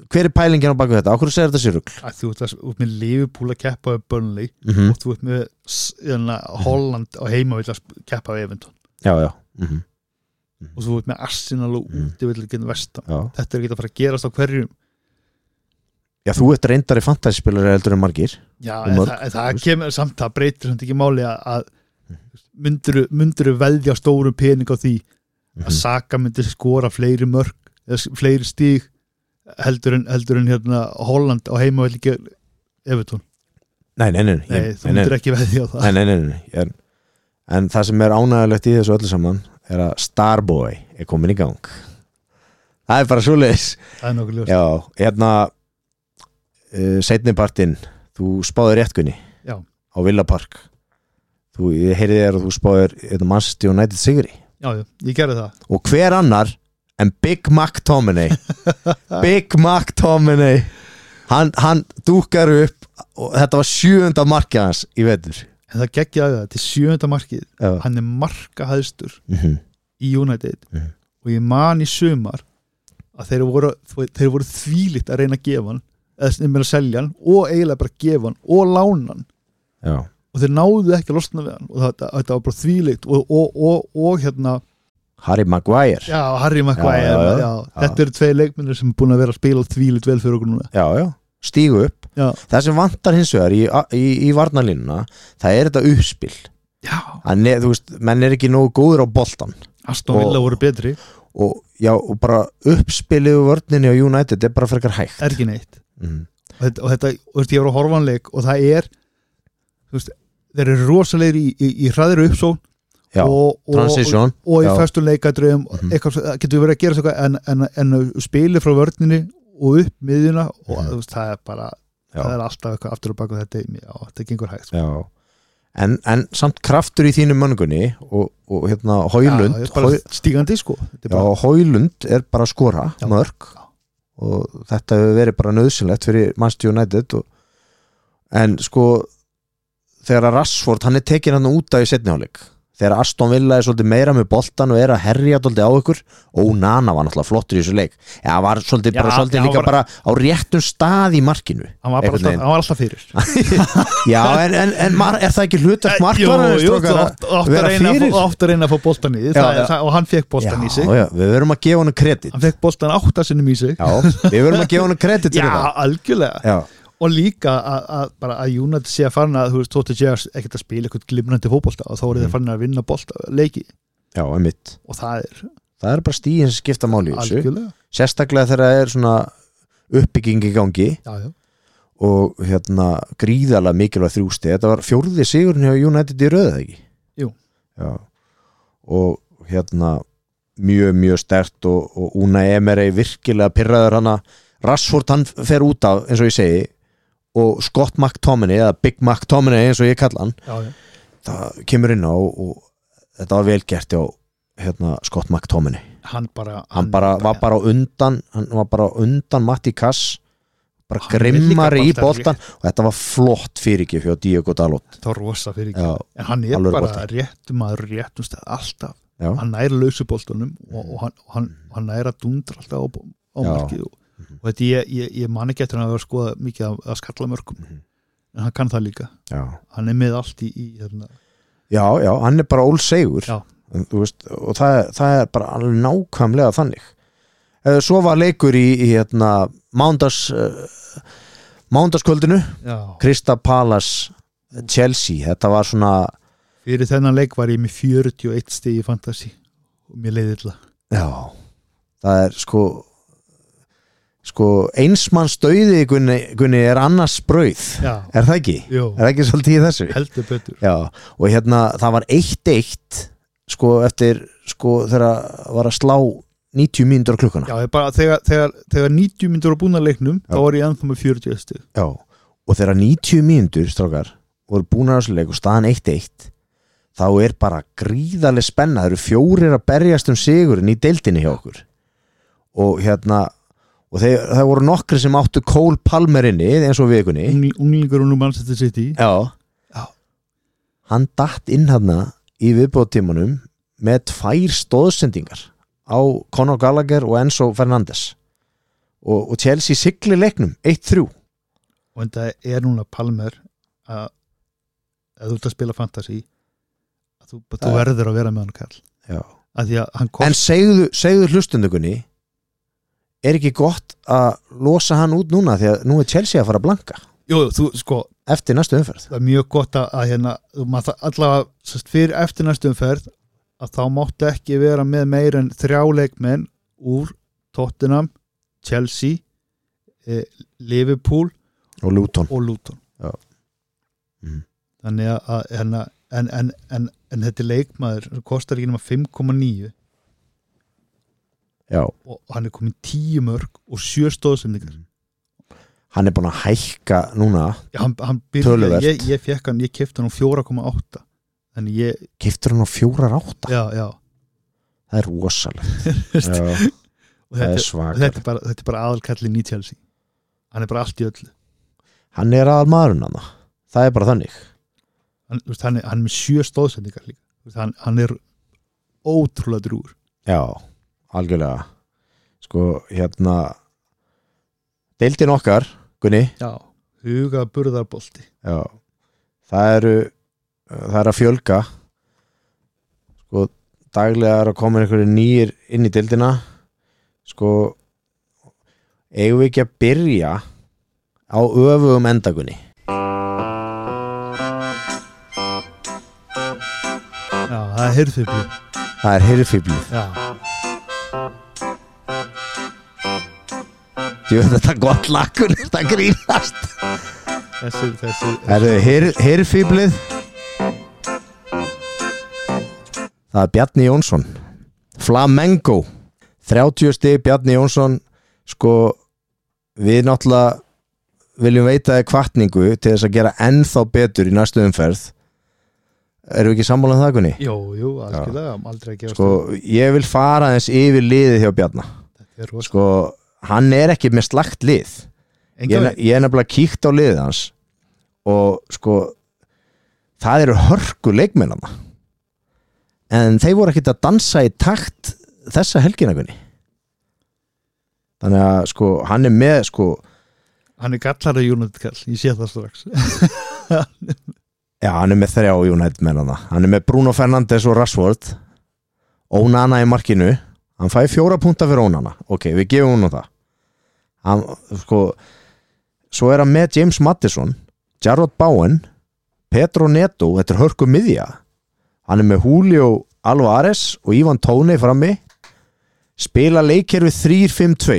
Speaker 2: hver er pælingin á baku þetta? okkur segir þetta sér rugl?
Speaker 3: að þú ert að- út með Liverpool að keppa við Burnley
Speaker 2: Mm
Speaker 3: og þú ert með s- hérna, Holland á heimavill að sp- keppa við Everton
Speaker 2: já, já, mm
Speaker 3: og þú ert með Arsenal og
Speaker 2: Mhm.
Speaker 3: útivill genið vestam
Speaker 2: já
Speaker 3: þetta er ekki að fara að gerast á hverjum
Speaker 2: já, þú ert reyndari fantasyspilari heldur en margir
Speaker 3: Já,
Speaker 2: Og
Speaker 3: en,
Speaker 2: mörg,
Speaker 3: það, en það
Speaker 2: veist. Mm.
Speaker 3: kemur samt það breytir samt ekki máli að, að myndiru, myndiru veðja stórum pening á því að
Speaker 2: Mhm.
Speaker 3: Saka myndi skora fleiri mörg eða s- fleiri stíg heldur en, heldur en hérna Holland á heimavill ekki Evertón
Speaker 2: Nei, nei, nei, nei,
Speaker 3: Nei,
Speaker 2: ég-
Speaker 3: þú myndir ekki veðja á það
Speaker 2: nei, nei, nei, nei, nei. ég Er, En það sem er ánægulegt í þessu öllu saman er að Starboy er komin í gang Það er bara svoleiðis
Speaker 3: Það er nokkuð ljóst
Speaker 2: Já, hérna uh, Seinnipartin, þú spáðir réttkunni
Speaker 3: Já.
Speaker 2: á Villapark Þú, ég heyri þér og þú spáðir hérna, Manchester United sigri
Speaker 3: Já, já, ég gerði það
Speaker 2: Og hver annar en Big Mac Tominey Big Mac Tominey Hann, hann dúkar upp og þetta var sjöunda markið hans í vetur
Speaker 3: En það geggjaði það, til sjöunda markið
Speaker 2: Já.
Speaker 3: Hann er markahæðstur
Speaker 2: Mhm.
Speaker 3: í United
Speaker 2: Mhm.
Speaker 3: og ég man í sumar að þeir voru, þeir voru þvílitt að reyna að gefa hann eða sem er að selja hann og eiginlega bara gefa hann og lána hann
Speaker 2: Já
Speaker 3: og þeir náðu ekki að losna við hann og þetta, þetta var bara þvílitt og, og, og, og hérna,
Speaker 2: Harry Maguire
Speaker 3: já, Harry Maguire
Speaker 2: Já, já, já. Já.
Speaker 3: þetta eru tvei leikmennir sem er búin að vera að spila þvílitt vel fyrir okkur núna
Speaker 2: já, já, stígu upp
Speaker 3: Já.
Speaker 2: það sem vantar hins vegar í, í, í varnalínuna það er þetta uppspil
Speaker 3: já,
Speaker 2: Hann er, þú veist, menn er ekki nógu góður á boltan
Speaker 3: Aston Villa
Speaker 2: Og-
Speaker 3: voru betri
Speaker 2: og, já, og bara uppspilið og vörninni á United er bara frekar hægt
Speaker 3: er ekki neitt
Speaker 2: mm.
Speaker 3: og þetta, og þetta og þetta ég var á horfanleik og það er þú veist, þeir eru rosalegir í, í, í hraðir uppsón
Speaker 2: já,
Speaker 3: og, og,
Speaker 2: transition
Speaker 3: og í
Speaker 2: Já.
Speaker 3: föstu leikadröfum mm
Speaker 2: Mhm.
Speaker 3: -hmm. getur verið að gera svo eitthvað en, en, en spili frá vörninni og upp miðjuna og
Speaker 2: Mhm.
Speaker 3: þú veist, það er bara
Speaker 2: Já.
Speaker 3: það er alltaf eitthvað aftur og baka þetta já, þetta gengur hægt sko.
Speaker 2: já. En, en samt kraftur í þínu möngunni og, og hérna Hólund
Speaker 3: Já, bara stígandi sko Þetta er
Speaker 2: Já,
Speaker 3: bara,
Speaker 2: Hólund er bara að skora
Speaker 3: Já.
Speaker 2: mörg
Speaker 3: Já.
Speaker 2: og þetta hefur verið bara nöðsynlegt fyrir Manchester United og, en sko þegar að Rashford, hann er tekin hann út af í setniháleik, þegar Aston Villa er svolítið meira með boltan og er að herja svolítið á ykkur og Nana var náttúrulega flottur í þessu leik eða var svolítið,
Speaker 3: Já,
Speaker 2: bara, svolítið
Speaker 3: já,
Speaker 2: líka
Speaker 3: var-
Speaker 2: bara á réttum stað í markinu
Speaker 3: hann, var bara
Speaker 2: einhvern
Speaker 3: alltaf,
Speaker 2: veginn.
Speaker 3: hann var alltaf fyrir
Speaker 2: Já, en, en, en mar, er það ekki hlutast markvarðan
Speaker 3: Eh, Jú, jú, þú átt- átt að
Speaker 2: vera
Speaker 3: reyna að
Speaker 2: fyrir?
Speaker 3: fá- átt að reyna að fá boltan í
Speaker 2: Já,
Speaker 3: það,
Speaker 2: já.
Speaker 3: er það, og hann fekk boltan í sig
Speaker 2: Já, já, við verum að gefa hann kredit
Speaker 3: hann fekk boltan átta sinnum í sig
Speaker 2: Já, við verum að gefa hann kredit fyrir
Speaker 3: já algjörlega
Speaker 2: það Já,
Speaker 3: og líka að, að, bara að United sé að farin að þú veist, þóttu sé ekkert að spila eitthvað glimrandi fótbolta og þá
Speaker 2: Mm.
Speaker 3: eru þeir farin að vinna bolta, leiki
Speaker 2: já, einmitt
Speaker 3: og það er
Speaker 2: það er bara stíðin sem skipta máli í þessu
Speaker 3: algjörlega
Speaker 2: sérstaklega þegar það er svona uppbygging í gangi
Speaker 3: já, já.
Speaker 2: og hérna gríðalega mikilvæg þrjústi þetta var fjórði sigurinn hjá United í röðu ekki
Speaker 3: Jú.
Speaker 2: já og hérna mjög, mjög stert og, og Una Emerei virkilega pyrraður hana Rashford hann fer út af eins og ég segi og Scott McTominay eða Big McTominay eins og ég kalla hann
Speaker 3: já, já.
Speaker 2: það kemur inn á og þetta var vel gert hjá hérna, Scott McTominay
Speaker 3: hann bara,
Speaker 2: hann bara, var bara á undan hann var bara á undan Matti Kass bara
Speaker 3: Hann er
Speaker 2: grimmari í
Speaker 3: líka
Speaker 2: boltan
Speaker 3: boltar-
Speaker 2: og þetta var flott fyrir ekki hjá Diogo Dalot
Speaker 3: það var rosa fyrir ekki
Speaker 2: já,
Speaker 3: en hann er
Speaker 2: alvöru
Speaker 3: bara
Speaker 2: bolti.
Speaker 3: réttum maður á réttum stað alltaf,
Speaker 2: já,
Speaker 3: hann næri lausuboltunum og, og hann, og hann, og hann næri að dundra alltaf á, á
Speaker 2: Mm. Já. Mhm.
Speaker 3: markið og, og þetta ég, ég, ég man ekki eftir hann að vera að skoða mikið að, að skalla mörgum
Speaker 2: Mhm.
Speaker 3: en hann kann það líka,
Speaker 2: já.
Speaker 3: hann er með allt í, í hérna,
Speaker 2: já, já, hann er bara ólsegur
Speaker 3: Já.
Speaker 2: En þú veist, og það, er- það er bara alveg nákvæmlega þannig Eh, svo var leikur í, í hérna, mándas uh, mándaskvöldinu
Speaker 3: já,
Speaker 2: Krista Palas Chelsea, þetta var svona
Speaker 3: fyrir þennan leik var ég með 41 stig í fantasy og mér leiði illa
Speaker 2: já, það er sko sko einsmanns döiði Gunni, Gunni er annars brauð
Speaker 3: já,
Speaker 2: er það ekki?
Speaker 3: jú,
Speaker 2: Er það ekki svolítið í þessu?
Speaker 3: heldur betur
Speaker 2: Já, og hérna það var eitt eitt sko eftir sko þegar var að slá 90 mínútur á klukkuna
Speaker 3: Já, ég bara, þegar, þegar, þegar 90 myndur á búna leiknum
Speaker 2: Já.
Speaker 3: þá var ég ennþá með 40 stig
Speaker 2: Já, og þegar 90 mínútur strákar voru búnar á þessu leik og staðan 1-1 þá er bara gríðarlega spenna það eru fjórir að berjast um sigurinn í deildinni hjá okkur og hérna og þeir, það voru nokkri sem áttu Cole Palmer inni eins og vikunni
Speaker 3: Ungl- Unglingur og nú mannsættir sitt í
Speaker 2: Já.
Speaker 3: Já.
Speaker 2: Hann datt inn hana í viðbóttímanum með tvær stóðsendingar á Conor Gallagher og Enzo Fernandes og, og Chelsea sigli leiknum 1-3
Speaker 3: og þetta er núna Palmer að að þú ert að spila fantasy að þú, þú
Speaker 2: Já.
Speaker 3: verður að vera með hann kall
Speaker 2: Já
Speaker 3: að því að hann kom
Speaker 2: En segðu, segðu hlustundugunni er ekki gott að losa hann út núna því að nú er Chelsea að fara að blanka
Speaker 3: jú, jú, þú, sko,
Speaker 2: eftir næstu umferð
Speaker 3: það er mjög gott að, að hérna, þú maður það allavega sest, fyrir eftir næstu umferð að þá máttu ekki vera með meir en þrjá leikmenn úr Tottenham, Chelsea eh, Liverpool
Speaker 2: og Luton
Speaker 3: og Luton
Speaker 2: Já. Mhm.
Speaker 3: þannig að- að hérna, en, en, en, en þetta er leikmaður sem kostar ekki nema 5,9
Speaker 2: Já,
Speaker 3: og hann er komin 10 mörg og 7 stóðsendingar
Speaker 2: hann er búin að hækka núna
Speaker 3: Já, hann, hann byrja,
Speaker 2: Töluvert.
Speaker 3: ég, ég fekk hann, ég kefti hann á 4,8 þannig ég,
Speaker 2: kiptur hann á fjórar átta
Speaker 3: já, já
Speaker 2: það er rosalegt
Speaker 3: Veist,
Speaker 2: Já,
Speaker 3: og
Speaker 2: það
Speaker 3: þetta,
Speaker 2: er
Speaker 3: er,
Speaker 2: svakalegt
Speaker 3: þetta, er bara, þetta er bara aðalkallin í Chelsea hann er bara allt í öllu
Speaker 2: Hann er aðal maðurinn hann það er bara þannig
Speaker 3: hann, þú veist, hann, er, hann er með 7 stóðsendingar líka Þú veist, hann, hann er ótrúlega drúur
Speaker 2: Já, algjörlega sko, hérna deildin okkar, Gunni
Speaker 3: já. huga burðarbolti
Speaker 2: Já, það eru það er að fjölga sko, daglega er að koma einhverju nýjir inn í dildina sko eigum við ekki að byrja á öfugum endagunni
Speaker 3: já, það er heyrðfibli
Speaker 2: það er hirfýblíð,
Speaker 3: já,
Speaker 2: ég veit þetta er gott lakur þetta grínast
Speaker 3: þessi, þessi
Speaker 2: það eru hirfýblíð það er Bjarni Jónsson Flamengo 30 stig Bjarni Jónsson sko við náttúrulega viljum veita þér kvartningu til þess að gera ennþá betur í næstu umferð erum við ekki sammála um það Gunni?
Speaker 3: jú, jú, algjörlega, aldrei að gefa
Speaker 2: Sko ég vil fara aðeins yfir liðið hjá Bjarna
Speaker 3: þetta er rosa
Speaker 2: sko hann er ekki með slagt lið ég,
Speaker 3: enga
Speaker 2: er- ég er nefnilega kíkt á liðið hans og sko það eru hörku leikmennana en þeir voru ekkert að dansa í takt þessa helginagunni þannig að sko hann er með sko
Speaker 3: hann er gallara United kall, ég sé það strax
Speaker 2: já hann er með þrjá United mennana hann er með Bruno Fernandes og Rashford Ónana í markinu hann fæði fjóra punta fyrir Ónana ok við gefum hún það hann, sko svo er hann með James Madison Jarrod Bowen Petro Neto, þetta er hörku miðja hann er með Julio Alvarez og Ivan Tóni frammi spila leikkerfi 3-5-2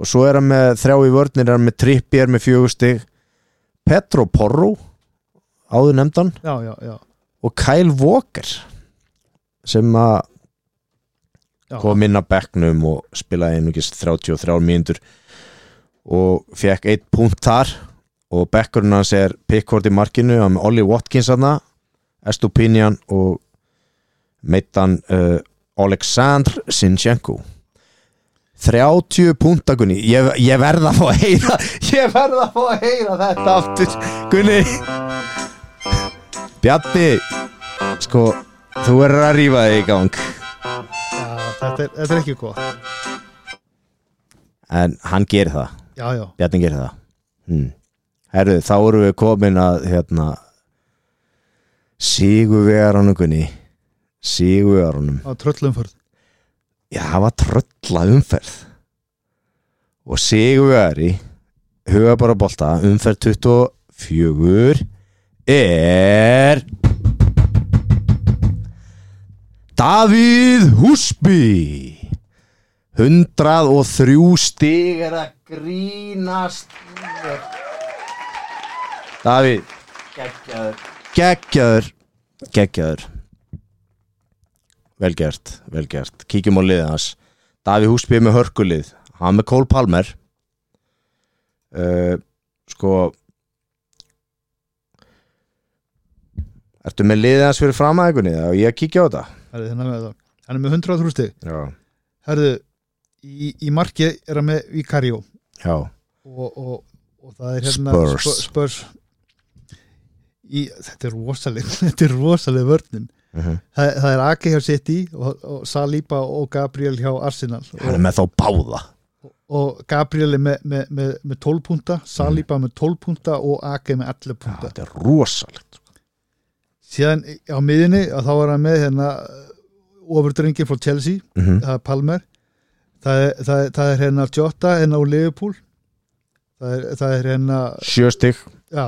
Speaker 2: og svo er hann með þrjá í vörnir, er hann með trippi er með fjögustig Petro Porro áður nefndan
Speaker 3: já, já, já,
Speaker 2: og Kyle Walker sem að
Speaker 3: Já.
Speaker 2: kom inn á bekknum og spilaði einugist 33 mínútur og fekk eitt punkt þar og bekkurinn hans er Pickford í markinu hann er með Ollie Watkins aðna Estupinian og meittan uh, Oleksandr Sinchenko 30 punta Gunni ég, ég verða að fá að heyra ég verða að fá að heyra þetta aftur Gunni Bjarni sko, þú verður að rífa þig í gang
Speaker 3: Já, þetta, er, þetta er ekki gott
Speaker 2: en hann gerir það
Speaker 3: Já, já,
Speaker 2: Bjarni gerir það hmm. Herru, þá erum við komin að hérna Sigurvegaranum Gunni Sigurvegaranum
Speaker 3: á tröllumförð
Speaker 2: Já, það var trölla umferð og Sigurvegari huga bara bolta umferð 24 er Davíð Húsby 103 stig er að grínast Davíð geggjaður geggjaður geggjaður velgert, velgert kíkjum á liðið hans Daví Húsby er með hörkulið hann með Cole Palmer uh, sko ertu með liðið hans fyrir fram aðeigunni og ég að kíkja á þetta
Speaker 3: Herðu, hérna með það. Hann er með 100 þrústi
Speaker 2: já,
Speaker 3: Herðu, í, í marki er hann með Vicario
Speaker 2: já,
Speaker 3: og, og, og það er hérna
Speaker 2: Spurs.
Speaker 3: Sp- Spurs. Í, þetta er rosaleg þetta er rosaleg vörnum
Speaker 2: uh
Speaker 3: það, það er Ake hjá City og, og Saliba og Gabriel hjá Arsenal
Speaker 2: hann
Speaker 3: og,
Speaker 2: er með þá báða
Speaker 3: og Gabriel er með, með, með, með 12 punta Saliba með 12 punta og Ake með 11
Speaker 2: já,
Speaker 3: punta
Speaker 2: þetta er rosalegt sko.
Speaker 3: síðan á miðinni að þá er hann með hérna ofurdrengi frá Chelsea
Speaker 2: uh
Speaker 3: það er Palmer það er, það er, það er hérna Jota hérna úr Liverpool það er, það er hérna
Speaker 2: sjö stig
Speaker 3: já,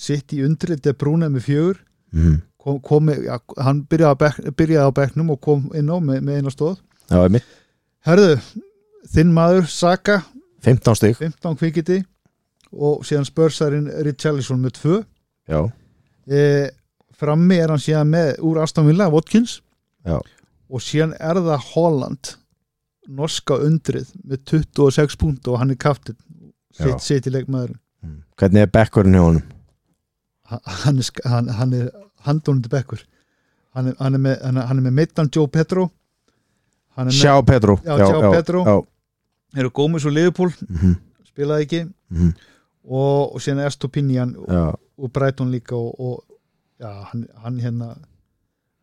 Speaker 3: sitt í undri þetta er Brúna með fjögur
Speaker 2: uh -huh.
Speaker 3: kom, kom, já, hann byrjaði á, bekk, byrjaði á bekknum og kom inn á með, með eina stóð
Speaker 2: já, einmitt,
Speaker 3: herðu, þinn maður Saka
Speaker 2: 15 stig
Speaker 3: 15 kvikiti og síðan spörsarinn Richarlison með 2
Speaker 2: já,
Speaker 3: e, frammi er hann síðan með úr Aston Villa, Watkins
Speaker 2: Já.
Speaker 3: og síðan er það Holland norska undrið með 26 púnt og hann er kaftin
Speaker 2: Já.
Speaker 3: sitt sitt í leikmaður
Speaker 2: Mhm. hvernig er bekkurinn hjá honum
Speaker 3: hann er, sk- hann, hann er handónundi bekkur hann er, hann er með, hann er- hann er með meittan Joe Petro hann er með,
Speaker 2: sjá Petru
Speaker 3: Já, João Pedro.
Speaker 2: já,
Speaker 3: eru Gómez og Liverpool
Speaker 2: Mhm.
Speaker 3: spilaði ekki
Speaker 2: Mhm.
Speaker 3: og, og síðan Estopinian og,
Speaker 2: já.
Speaker 3: og Brighton líka og, og já, hann, hann hérna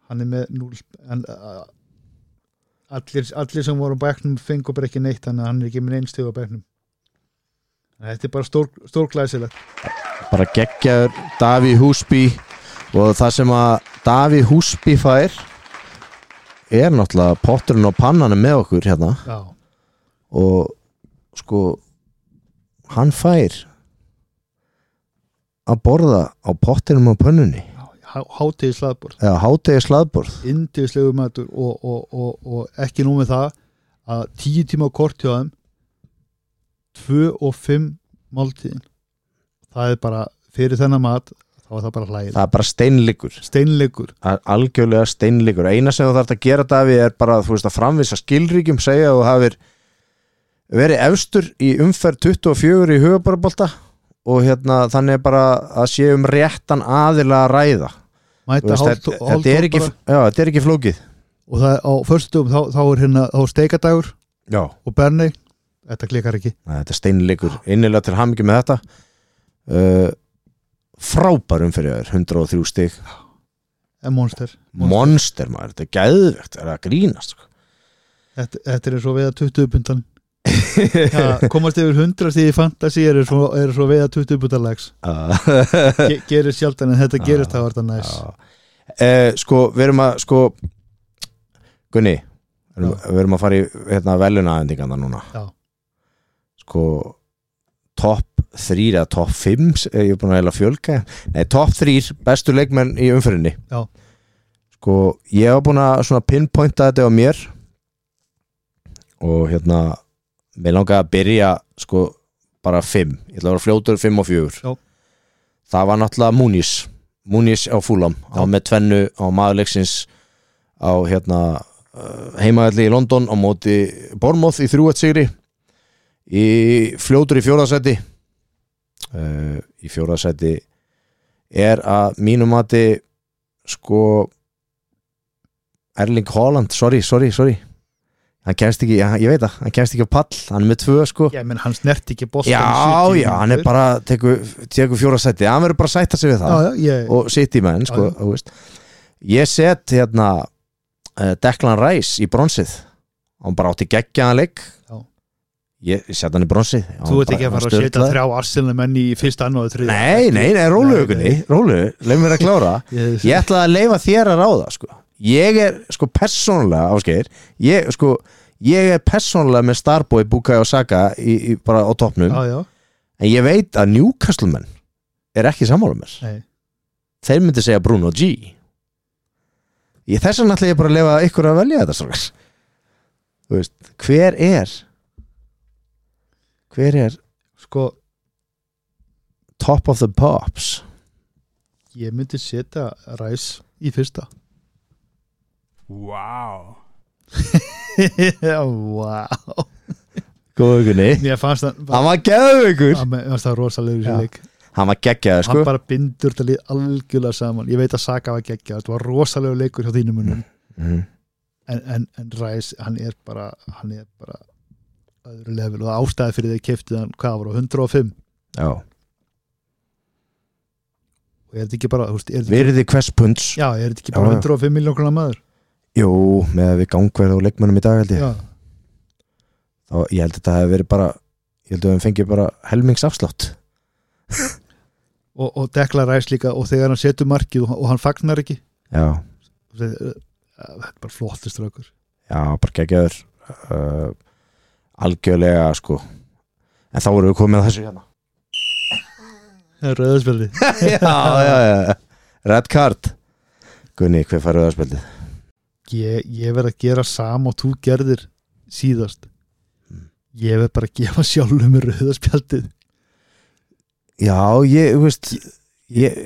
Speaker 3: hann er með núl hann, a- allir, allir sem voru á bæknum fengur bara ekki neitt þannig að hann er ekki með einstíð á bæknum þetta er bara stór, stórglæsilegt
Speaker 2: bara geggjaður Daví Húsby og það sem að Daví Húsby fær er náttúrulega potturinn og pannanum með okkur hérna
Speaker 3: já,
Speaker 2: og sko hann fær að borða á pottinum og pönnunni
Speaker 3: hátíði slagbor
Speaker 2: eða hátegi slaðborð
Speaker 3: indiðslegu matur og, og, og, og ekki nú með það að tíu tíma á kort hjá þeim tvö og fimm máltíðin það er bara fyrir þennan mat þá er það bara hlægir
Speaker 2: það er bara steinleikur
Speaker 3: steinleikur
Speaker 2: Það er algjörlega steinleikur eina sem þú þarf að gera Daví er bara þú veist, að framvisa skilríkjum segja að þú hafir verið efstur í umferð 24 í höfubarabolta og hérna, þannig er bara að sé um réttan aðila að ræða Þú
Speaker 3: mæta
Speaker 2: veist,
Speaker 3: hálft
Speaker 2: þetta, þetta, er ekki, já, þetta er ekki flókið
Speaker 3: og það er á förstum þá, þá er hérna þá er steikadagur
Speaker 2: já.
Speaker 3: og berni þetta klikkar ekki
Speaker 2: þetta er steinleikur innilega til hamingi með þetta uh, frábær umferð hjá þér, 103 stig
Speaker 3: en monster
Speaker 2: monster maður, þetta er gæðvegt það er að grínast sko.
Speaker 3: þetta, þetta er svo veiða 20 pundan ja, komast yfir 100 stíði fantasy er svo, er svo veiða 20 pundan legs
Speaker 2: sko.
Speaker 3: Ge, gerir sjaldan en þetta gerist það var þetta næs
Speaker 2: Eh, sko, við erum að sko, Gunni erum, við erum að fara í hérna, velunaðendingana núna
Speaker 3: Já.
Speaker 2: sko topp þrýr eða topp fimm s- eh, ég er búin að heila fjölka nei, topp þrýr bestu leikmenn í umfyrinni
Speaker 3: Já.
Speaker 2: sko, ég var búin að svona pinpointa þetta á mér og hérna mér langaði að byrja sko bara fimm, ég ætla að vera fljótur fimm og fjögur
Speaker 3: Já.
Speaker 2: það var náttúrulega Múnis Múnis á Fúlam, á
Speaker 3: Já.
Speaker 2: með tvennu á maðurleiksins á hérna heimaðalli í London á móti Bormóð í þrjúat sigri í fljótur í fjóraðsæti uh, í fjóraðsæti er að mínum mati sko Erling Haaland, sorry, sorry, sorry hann kemst ekki, ég, ég veit það hann kemst ekki á pall, hann er með tvö sko
Speaker 3: Já, menn hann snert ekki bóstan
Speaker 2: já, já, hann er bara tekur, tekur fjórasæti, hann verður bara að sætta sig við það
Speaker 3: Já, já, ég,
Speaker 2: og sitt í menn sko,
Speaker 3: Já,
Speaker 2: þú veist. ég set hérna eh, Declan Rice í bronsið hann bara átti geggjaðan leik
Speaker 3: Já.
Speaker 2: ég ég set hann í bronsið
Speaker 3: þú ert ekki að fara að setja þrjá arsilna menn í fyrst, annað og þrið
Speaker 2: nei, nei, nei, rólu aukunni rólu, leið mér að klára
Speaker 3: Ég,
Speaker 2: ég ætla að leifa þér að ráða sko. ég er sko persónulega áskeir, ég sko ég er persónulega með Starboy, Bukai og Saga í, í, bara á toppnum
Speaker 3: já, já,
Speaker 2: en ég veit að Newcastle menn er ekki sammála mér
Speaker 3: nei
Speaker 2: þeir myndi segja Bruno G ég þess að náttúrulega ég bara að lefa ykkur að velja þetta strax þú veist, hver er hver er
Speaker 3: Sko,
Speaker 2: top of the pops
Speaker 3: ég myndi setja ræs í fyrsta
Speaker 5: Wow.
Speaker 3: Já, vá
Speaker 2: góðugunni,
Speaker 3: Mér fannst það
Speaker 2: hann var geðugur
Speaker 3: Mér fannst það rosalegur
Speaker 2: Já.
Speaker 3: sér leik
Speaker 2: hann var geggjaður
Speaker 3: hann
Speaker 2: sko
Speaker 3: bara bindur þetta lið algjörlega saman ég veit að Saka var geggja, þetta var rosalegu leikur hjá þínum munum
Speaker 2: Mhm.
Speaker 3: en, en, en Ræs, hann er bara hann er bara öðru level og ástæði fyrir því keftið hann hvað var á 105
Speaker 2: já
Speaker 3: og er þetta ekki bara, þú veist, er þetta ekki,
Speaker 2: Virði hvers punds
Speaker 3: já, er þetta ekki
Speaker 2: Já,
Speaker 3: bara
Speaker 2: já.
Speaker 3: 105 miljón krona maður
Speaker 2: Jú, með að við gangverð og leikmönnum í dag held ég
Speaker 3: já,
Speaker 2: Þá, Ég held að þetta hefði verið bara Ég held að við fengið bara helmings afslátt
Speaker 3: og, og dekla Ræs líka og þegar hann setur markið og, og hann fagnar ekki
Speaker 2: Já,
Speaker 3: þú veist, eh, þetta er bara flottur straukur
Speaker 2: já, bara geggjaður uh, Algjörlega sko En þá erum við komið að þessu hérna
Speaker 3: rauðspildi
Speaker 2: já, já, já Red card Gunni, hver færðu það spildið?
Speaker 3: ég, ég verð að gera sam og þú gerðir síðast ég verð bara að gefa sjálfum mér rauðaspjaldið
Speaker 2: Já, ég, þú veist Ég,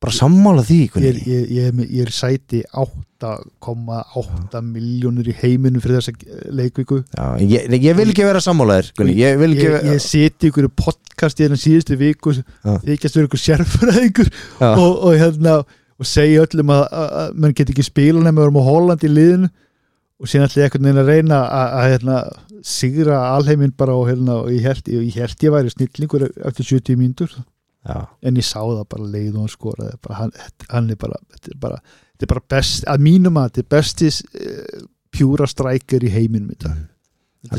Speaker 2: bara sammála því
Speaker 3: ég,
Speaker 2: Gunni
Speaker 3: er- ég, ég, er með- ég er í sæti 8,8 miljónir í heiminum fyrir þessa eh, leikviku
Speaker 2: Já, ég, nei, ég vil ekki vera sammálaðir Gunni, ég vil
Speaker 3: ég,
Speaker 2: ekki
Speaker 3: ég seti ykkur podcast í þennan síðustu viku þykjast verið ykkur sérfræðingur
Speaker 2: Já.
Speaker 3: og, og hérna og segja öllum að, að, að menn get ekki spila nefnum við erum á Holland í liðinu og síðan ætla ég einhvern veginn að reyna að, að hérna, sigra alheiminn bara og, hérna, og ég, held, ég, ég held ég væri snillingur eftir 70 mínútur
Speaker 2: Já,
Speaker 3: en ég sá það bara leið og hann skoraði bara, hann, þetta- hann er bara þetta er bara, þetta er bara best, að mínum að þetta er bestis uh, pjúra strækir í heiminum í dag þetta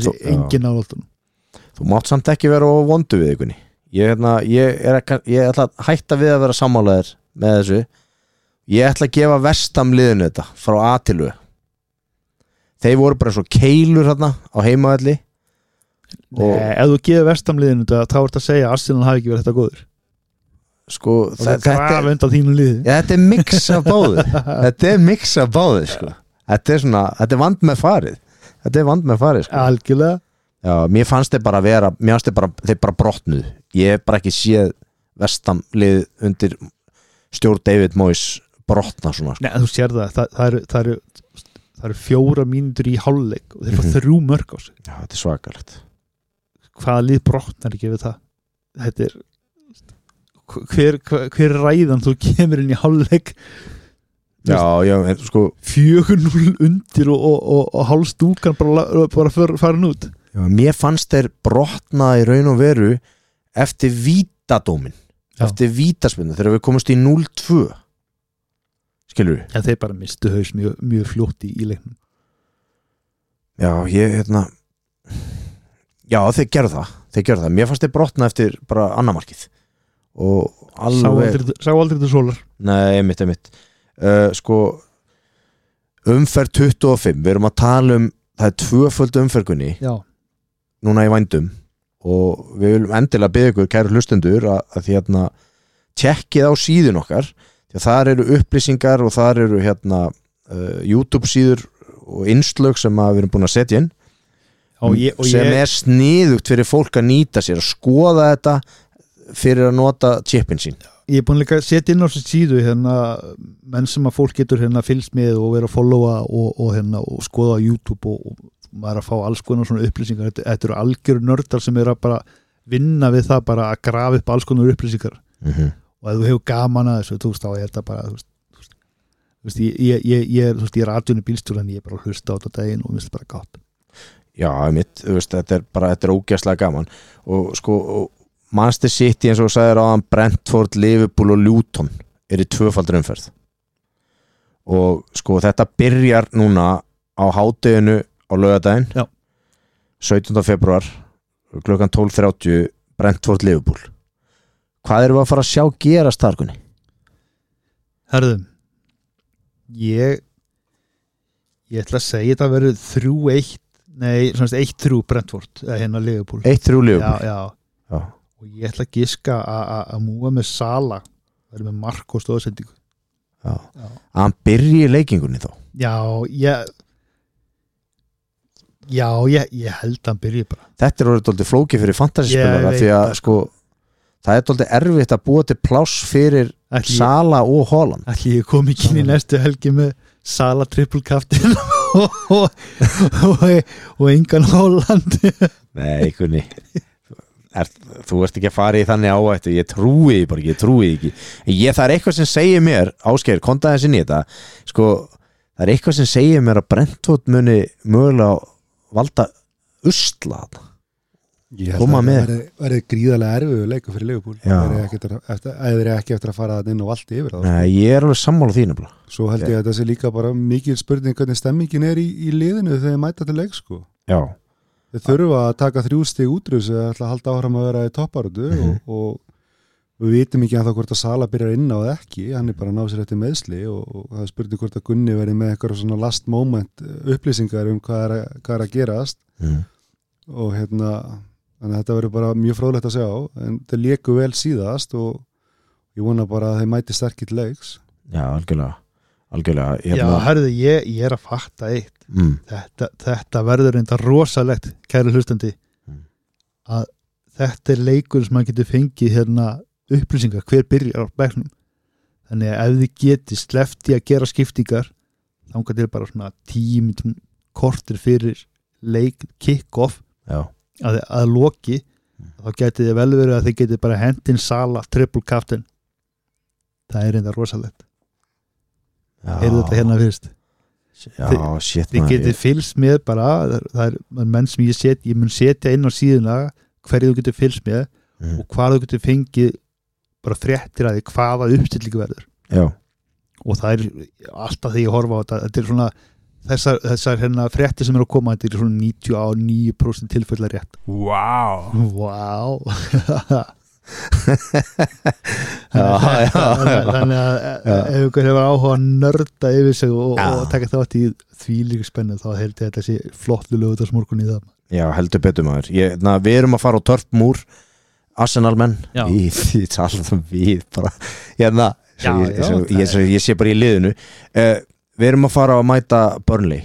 Speaker 2: Mhm. Þetta-
Speaker 3: er engin álóttunum
Speaker 2: þú mátt samt ekki vera of vondu við ykkurni ég, hérna, ég, er ekki, ég ætla að hætta við að vera sammálaðir með þessu ég ætla að gefa vestam liðinu þetta frá A til U þeir voru bara eins og keilur hérna á heimaðalli Og-
Speaker 3: ef þú gefur vestamliðinu þetta þá ert að segja að Arsenal hafi ekki verið þetta góður
Speaker 2: sko,
Speaker 3: og það
Speaker 2: þe-
Speaker 3: er
Speaker 2: þetta,
Speaker 3: grafa
Speaker 2: er-
Speaker 3: undan þínu liði
Speaker 2: ja, þetta er mix af báðu þetta er mix af báðu sko. þetta, er svona, þetta er vand með farið þetta er vand með farið sko.
Speaker 3: algjörlega
Speaker 2: Já, mér fannst þeir bara vera mér fannst þeir bara, þeir bara brotnuð ég hef bara ekki séð vestam lið undir stjórn David Moyes brotna svona sko.
Speaker 3: Nei, en þú sér það, það, það eru það eru það eru fjóra mínútur í hálfleik og þeir eru bara
Speaker 2: Mhm.
Speaker 3: þrjú mörg á sig
Speaker 2: Já, þetta er svakalegt
Speaker 3: hvaða lið brotnar ekki við það þetta er hver, hver, hver ræðan þú kemur inn í hálfleik
Speaker 2: Já, já, en sko
Speaker 3: fjögur núl undir og, og, og, og hálfstúkan bara, la- bara för, farin út
Speaker 2: já, mér fannst þeir brotna í raun og veru eftir vítadómin
Speaker 3: Já.
Speaker 2: eftir vítaspinnu þegar við komumst í 0-2 skilur við
Speaker 3: en þeir bara mistu haus mjög, mjög fljótt í, í leiknum
Speaker 2: Já, ég, hérna Já, þeir gerðu það þeir gerðu það, mér fannst þeir brotna eftir bara annamarkið og
Speaker 3: sá
Speaker 2: alveg
Speaker 3: aldrei, sá aldrei til sólar
Speaker 2: Nei, einmitt, einmitt uh, Sko Umferð 25, við erum að tala um Það er tvöföld umferðkunni
Speaker 3: já,
Speaker 2: Núna í vændum Og við viljum endilega byggja ykkur kæru hlustendur Að, að því hérna Tjekkið á síðun okkar Því að þar eru upplýsingar og þar eru hérna uh, YouTube síður Og innslög sem að við erum búin að setja inn
Speaker 3: og ég, og
Speaker 2: Sem
Speaker 3: ég
Speaker 2: er sniðugt fyrir fólk að nýta sér Að skoða þetta Fyrir að nota chipin sín
Speaker 3: ég er búin líka að setja inn á þessu síðu hérna, menn sem að fólk getur hérna fylgst með og vera að followa og, og, hérna, og skoða á YouTube og, og maður er að fá alls konar svona upplýsingar þetta, þetta eru algjör nördar sem eru að bara vinna við það bara að grafa upp alls konar upplýsingar og ef þú hefur gaman að þessu þú veist þá er þetta bara þú veist, þú veist, þú veist, ég, ég, ég, ég, er- þú veist, ég er atvinni bílstjór en ég er bara að hlusta á þetta daginn og minnst bara gátt
Speaker 2: Já, mitt, veist, þetta er bara þetta er ógæslega gaman og sko, og Manchester City eins og þú sagðir á hann Brentford, Liverpool og Luton er í tvöfaldur umferð og sko þetta byrjar núna á hádeginu á laugardaginn
Speaker 3: Já.
Speaker 2: 17. februar klukkan 12.30 Brentford, Liverpool hvað erum við að fara að sjá gerast þar kunni?
Speaker 3: Herðum Ég Ég ætla að segja þetta verður 3-1 Nei, svona 1-3 Brentford eða hérna
Speaker 2: 1-3
Speaker 3: Liverpool já,
Speaker 2: Liverpool
Speaker 3: já.
Speaker 2: Já.
Speaker 3: Og ég ætla að giska að- að að múa með Sala verður með Marko stóðsendingu
Speaker 2: Já.
Speaker 3: Já,
Speaker 2: að hann byrji í leikingunni þá
Speaker 3: já ég Já, ég, ég held að hann byrja bara
Speaker 2: þetta er orðið doldið flókið fyrir fantasyspilara
Speaker 3: Ég
Speaker 2: því að
Speaker 3: veit það.
Speaker 2: sko það er doldið erfitt að búa til pláss fyrir
Speaker 3: Ætli, Sa
Speaker 2: Sala og Holland
Speaker 3: ætli ég kom ekki inn í næstu helgi með Sala triple captain og, og, og, og engan Holland
Speaker 2: Nei, kunni er, þú ert ekki að fara í þannig áættu ég trúi því bara ekki, ég trúi því ekki En ég, það er eitthvað sem segir mér, Ásgeir kontaði sinni þetta, sko það er eitthvað sem segir mér að Brentford muni mögulega valda usla þarna.
Speaker 4: Ég held
Speaker 2: Koma
Speaker 4: að
Speaker 2: með.
Speaker 4: það verði- verði gríðarlega erfiðu leiku fyrir Leopold
Speaker 2: Já.
Speaker 4: Það er ekki eftir, eftir, ekki eftir að fara þarna inn og allt yfir það
Speaker 2: Nei, ég er alveg sammála því nefnilega
Speaker 4: Svo held ég að það sé líka bara mikil spurning hvernig stemmingin er í, í liðinu þegar þeir mæta til leik sko
Speaker 2: Já,
Speaker 4: Þeir þurfa að taka þrjú stig útrús eða ætla að halda áhram að vera í topparötu og, og við vitum ekki að það hvort að Sala byrjar inn á eða ekki, hann er bara að ná sér eftir meðsli og, og það er spurning hvort að Gunni verið með eitthvað svona last moment eh, upplýsingar um hvað er, að- hvað er að gerast
Speaker 2: mm.
Speaker 4: og hérna þannig að þetta verður bara mjög fróðlegt að sjá en þeir léku vel síðast og ég vona bara að þeir mæti sterkir til leiks
Speaker 2: já algjörlega algjörlega
Speaker 3: Já,
Speaker 2: hérna,
Speaker 3: herðu, ég, ég er að fatta eitt
Speaker 2: mm.
Speaker 3: þetta, þetta verður reynda rosalegt kæri hlustandi
Speaker 2: Mm.
Speaker 3: að þetta er leikur sem maður getur fengið hérna upplýsingar hver byrjar á bæknum þannig að ef þið geti slefti að gera skiptingar þá kan til bara svona tími kortir fyrir leik kick-off
Speaker 2: já,
Speaker 3: að, að loki
Speaker 2: Mm.
Speaker 3: þá geti þið vel verið að þið geti bara hendin sala triple captain það er reynda rosalegt
Speaker 2: já.
Speaker 3: heyrðu þetta hérna fyrst
Speaker 2: Já, shit
Speaker 3: þið
Speaker 2: maður,
Speaker 3: getið
Speaker 2: ég-
Speaker 3: fylgst með bara það er, það er menn sem ég set ég mun setja inn á síðuna hverju þú getur fylgst með
Speaker 2: Mm.
Speaker 3: og hvað þú getur fengið bara fréttir að því hvaða uppstillingu verður
Speaker 2: Já,
Speaker 3: og það er alltaf þegar ég horfa á þetta þetta er svona þessar, þessar hérna fréttir sem eru að koma þetta er svona 99% tilfella rétt
Speaker 1: Wow.
Speaker 3: wow
Speaker 2: Já, já, já.
Speaker 3: þannig að eh,
Speaker 2: Já.
Speaker 3: ef ykkur hefur áhuga að nörda yfir sig og,
Speaker 2: Já.
Speaker 3: og taka þátt í því líka spennu þá held ég að þetta sé flottu lögut á smorgun í það
Speaker 2: já, heldur betur maður ég, na, Við erum að fara á törpmúr Arsenal menn
Speaker 3: Já.
Speaker 2: Í því talaðum við bara Hérna,
Speaker 3: Já,
Speaker 2: svo ég,
Speaker 3: já,
Speaker 2: svo,
Speaker 3: það
Speaker 2: ég, svo, ég sé bara í liðinu uh, Við erum að fara að mæta Burnley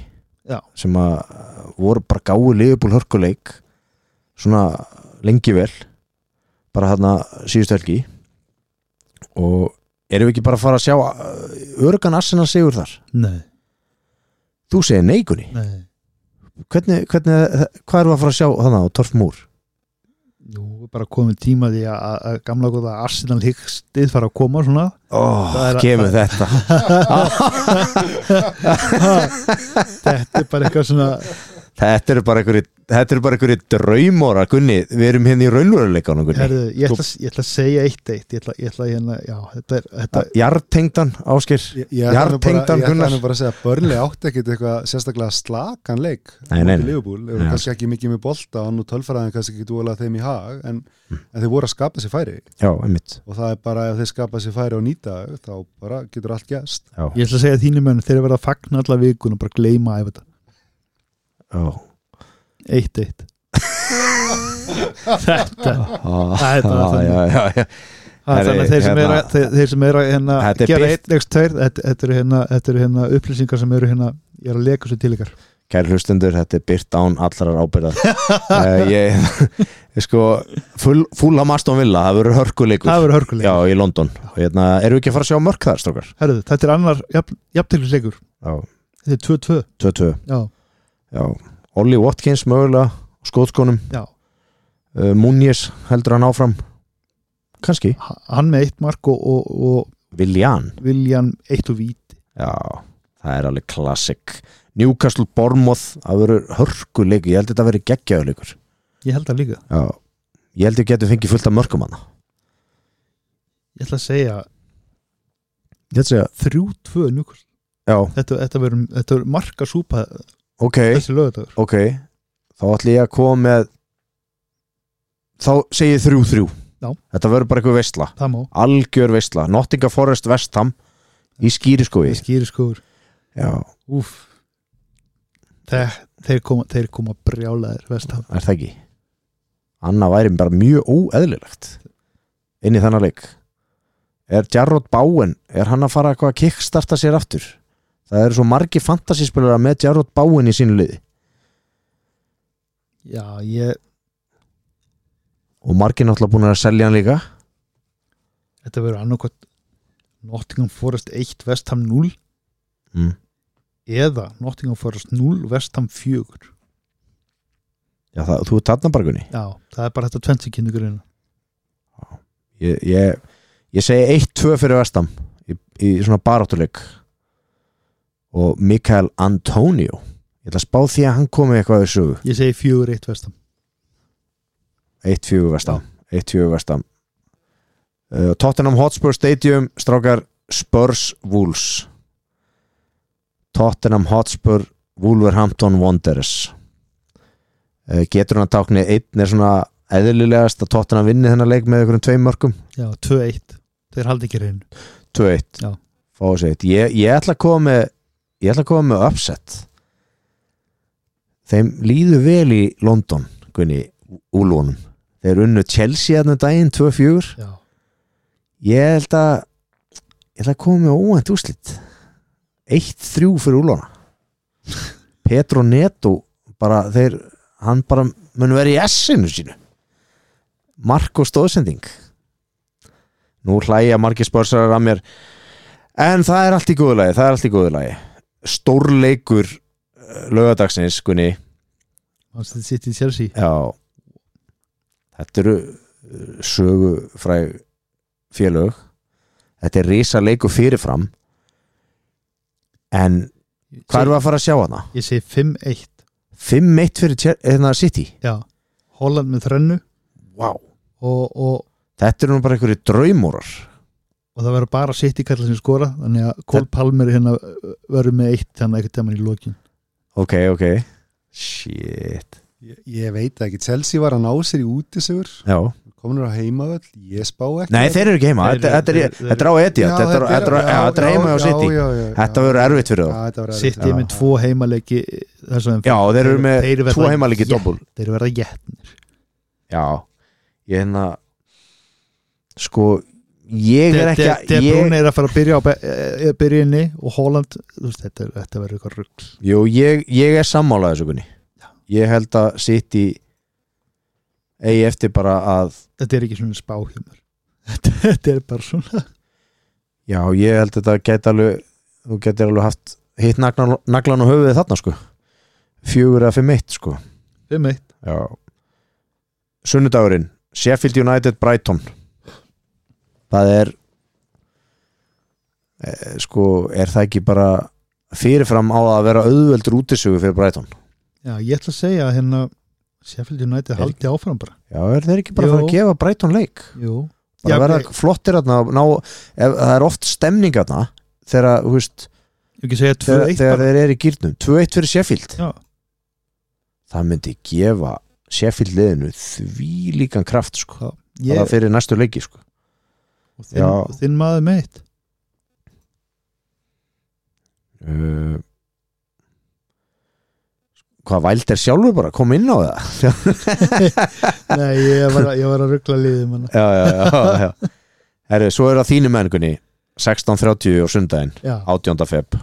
Speaker 3: Já.
Speaker 2: sem að eh, voru bara gáu liðbúl hörkuleik svona lengi vel bara þarna síðustu helgi og erum við ekki bara að fara að sjá örugan Arsenal sigur þar
Speaker 3: Nei,
Speaker 2: Þú segir neikunni
Speaker 3: nei
Speaker 2: hvernig, hvernig, hvað erum við að fara að sjá þannig á Torf Múr?
Speaker 3: Nú er bara komið tíma því að, að- að gamla góða Arsenal hyggstið fara að koma svona
Speaker 2: Ó,
Speaker 3: Það er að-
Speaker 2: kemur Oh, þetta
Speaker 3: Þetta er bara eitthvað svona
Speaker 2: Þetta eru bara einhverju Þetta eru bara einhverju draumóra, Gunni Við erum hérna í raunveruleikanum, Gunni
Speaker 3: herðu, ég, ætla, ég ætla að segja eitt eitt Ég ætla, ég ætla að hérna, já, þetta er þetta,
Speaker 2: Jartengdan, Áskir
Speaker 4: Ég, ég ætla nú bara,
Speaker 2: Jarðtengdan
Speaker 4: ég ætla
Speaker 2: Gunnar.
Speaker 4: nú bara að segja að Börnli átti ekkit eitthvað sérstaklega slakan leik
Speaker 2: Nei, nei, nei.
Speaker 4: Leifbúl,
Speaker 2: Nei,
Speaker 4: kannski ekki mikið með bolta og nú tölfaraðin kannski ekki dúlega þeim í hag en,
Speaker 2: Mm.
Speaker 4: en þeir voru að skapa sér færi
Speaker 2: Já, einmitt
Speaker 4: og það er bara ef þeir skapa sér færi og nýta þau, þá bara getur allt gæst
Speaker 2: Já,
Speaker 3: Ég ætla að segja þínu menn þeir verða að fagna alla vikuna bara gleyma að æfa þetta
Speaker 2: já
Speaker 3: Eitt eitt Þetta
Speaker 2: Ah,
Speaker 3: Það er bara
Speaker 2: ah,
Speaker 3: þannig.
Speaker 2: já, já, já.
Speaker 3: Það er
Speaker 2: Herri,
Speaker 3: þannig að þeir sem
Speaker 2: hérna-
Speaker 3: eru að- þeir- þeir sem eru að hérna,
Speaker 2: Þetta er
Speaker 3: gera
Speaker 2: birt-
Speaker 3: eitt, eitt, tveir, þetta, þetta eru hérna, þetta eru hérna upplýsingar sem eru hérna, ég er að leka svo til ykkar
Speaker 2: Kæri hlustendur, þetta er byrt án allrar ábyrðar uh, Ég, ég sko, full, full að Maston Villa, það verður hörkuleikur
Speaker 3: það verður hörkuleik
Speaker 2: Já, í London Og hérna, erum við ekki að fara að sjá mörk þar, strókar?
Speaker 3: Herðu, þetta er annar jafnteglisleikur
Speaker 2: Já,
Speaker 3: þetta er 2-2
Speaker 2: 2-2
Speaker 3: já,
Speaker 2: Já, Ollie Watkins mögulega Skótskonum,
Speaker 3: já.
Speaker 2: uh, Munjes heldur hann áfram Kanski
Speaker 3: Ha- hann með eitt mark og, og, og
Speaker 2: Viljan,
Speaker 3: Viljan eitt og víti
Speaker 2: já, það er alveg klassik Newcastle Bournemouth það verður hörkuleikur, ég held að þetta verður geggjaðuleikur
Speaker 3: ég held það líka,
Speaker 2: Já, ég held ég getur fengið fullt af mörkum hana
Speaker 3: ég ætla að segja
Speaker 2: Ég held segja,
Speaker 3: 3-2 njúkast
Speaker 2: já,
Speaker 3: þetta, þetta verður þetta verður marka súpa
Speaker 2: ok
Speaker 3: þessi lögadagur
Speaker 2: ok, þá ætlum ég að koma með þá segi ég þrjú þrjú
Speaker 3: Já.
Speaker 2: þetta verður bara eitthvað veistla,
Speaker 3: það má,
Speaker 2: algjör veistla Nottingham Forest Vestham í skýriskói
Speaker 3: það skýri skóður
Speaker 2: já,
Speaker 3: úf Þe- þeir koma, þeir koma brjálaðir vestam
Speaker 2: er það ekki annað væri bara mjög óeðlilegt inn í þannig leik er Jarrod Bowen er hann að fara eitthvað að kickstarta sér aftur það eru svo margi fantasyspilara með Jarrod Bowen í sínu liði
Speaker 3: já, ég,
Speaker 2: og margi náttúrulega búin að selja hann líka
Speaker 3: þetta verður annarkvæmt Nottingham Forest 1 vestam 0
Speaker 2: mm.
Speaker 3: eða Nottingham Forest 0 vestam 4
Speaker 2: já, það, þú ert þarna bargunni
Speaker 3: já, það er bara þetta 20 kynningurinn
Speaker 2: ég, ég, ég segi 1-2 fyrir Vestam í, í svona baráttuleik og Mikael Antonio ég ætla að spá því að hann komi eitthvað þessu
Speaker 3: ég segi 4-1 vestam
Speaker 2: 1-4 Vestam 1-4 Vestam uh, Tottenham Hotspur Stadium strákar Spurs Wolves Tottenham Hotspur Wolverhampton Wanderers uh, getur hann að tákni einn er svona eðlilegast að Tottenham vinni þennan leik með einhverjum tveim mörgum
Speaker 3: já, 2-1, þeir haldi ekki reynu
Speaker 2: 2-1
Speaker 3: Já.
Speaker 2: Fá þessi eitt. ég, ég ætla að koma með ég ætla að koma með upset þeim líður vel í London Gunni, úlunum þeir unnu Chelsea hérna um daginn 2-4
Speaker 3: já,
Speaker 2: ég held að ég ætla að koma með óvænt úslit 1-3 fyrir úluna Petro Neto bara þeir hann bara mun vera í S-inu sínu Marko stóðsending nú hlæja margir spörsarar að mér en það er allt í góðu lagi það er allt í góðu lagi stórleikur lögadagsins Gunni
Speaker 3: þannig að þetta sitt í Chelsea
Speaker 2: Já Þetta eru uh, sögufræg félög Þetta er risa leiku fyrirfram En hvað erum við að fara að sjá hana?
Speaker 3: ég segi 5-1
Speaker 2: 5-1 fyrir Chel- hérna, City
Speaker 3: já, Holland með þrennu
Speaker 2: wow.
Speaker 3: og, og,
Speaker 2: Þetta eru nú bara einhverju draumórar
Speaker 3: og það verður bara sitt í kallar sem skora þannig að Cole Palmer hérna uh, verður með eitt þannig að eitthvað mann í lokin
Speaker 2: Ok, ok Shit
Speaker 4: Ég, ég veit ekki, Chelsea var að ná sér í útisugur
Speaker 2: Já.
Speaker 4: kominur á heimavöll, ég spá ekki
Speaker 2: Nei, þeir eru ekki heima,
Speaker 3: Þeir-
Speaker 2: þetta, þetta, er,
Speaker 3: þeir- þeir-
Speaker 2: þetta er á Etihad Þetta er, þetta er, já, þetta er heima á City Þetta verður erfitt fyrir þá
Speaker 3: sitt ég með tvo heimaleiki þess að
Speaker 2: Já, þeir eru með
Speaker 3: Þeir verða-
Speaker 2: tvo heimalegi
Speaker 3: Já.
Speaker 2: doppul
Speaker 3: þeir verða jætnir
Speaker 2: Já, ég hérna sko, ég er ekki að
Speaker 3: De
Speaker 2: ég,
Speaker 3: Bruyne er að fara að byrja á be- eh, eh, byrjunni og Holland, þú veist, þetta, er- þetta verður eitthvað rugg
Speaker 2: jú, ég, ég er sammálaði þessu kunni ég held að sitt í eigi eftir bara að
Speaker 3: þetta er ekki svona spá hjá mér þetta, þetta er bara svona
Speaker 2: já, ég held að þetta gæti alveg þú getur alveg haft hitt naglan, naglan og höfuðið þarna sko fjögur að fimm eitt sko
Speaker 3: um eitt,
Speaker 2: já. sunnudagurinn Sheffield United Brighton það er e, sko, er það ekki bara fyrirfram á að vera auðveldur útisögu fyrir Brighton
Speaker 3: já ég ætla að segja að hérna Sheffield United haldi áfram bara
Speaker 2: já, er þeir ekki bara að fara að
Speaker 3: Jú.
Speaker 2: gefa Brighton leik
Speaker 3: jú,
Speaker 2: bara
Speaker 3: Já,
Speaker 2: verða
Speaker 3: ok.
Speaker 2: flottir aðna ná, ef, það er oft stemning aðna þegar, þú veist,
Speaker 3: ég ekki segja
Speaker 2: þegar,
Speaker 3: 2-1
Speaker 2: þegar
Speaker 3: bara
Speaker 2: þeir eru í gýrnum 2-1 fyrir Sheffield
Speaker 3: já,
Speaker 2: það myndi gefa Sheffield liðinu því líkan kraft sko, bara
Speaker 3: ég,
Speaker 2: fyrir næstu leiki sko.
Speaker 3: og
Speaker 2: Já.
Speaker 3: þinn, og þinn maður með eitt
Speaker 2: uh, hvað væld er sjálfur bara kom inn á það
Speaker 3: nei, ég var, að- ég var að ruggla liðum hana.
Speaker 2: já, já, já, já. Herri, svo er það þínu mengunni 16.30 og sundaginn
Speaker 3: já,
Speaker 2: 18. feb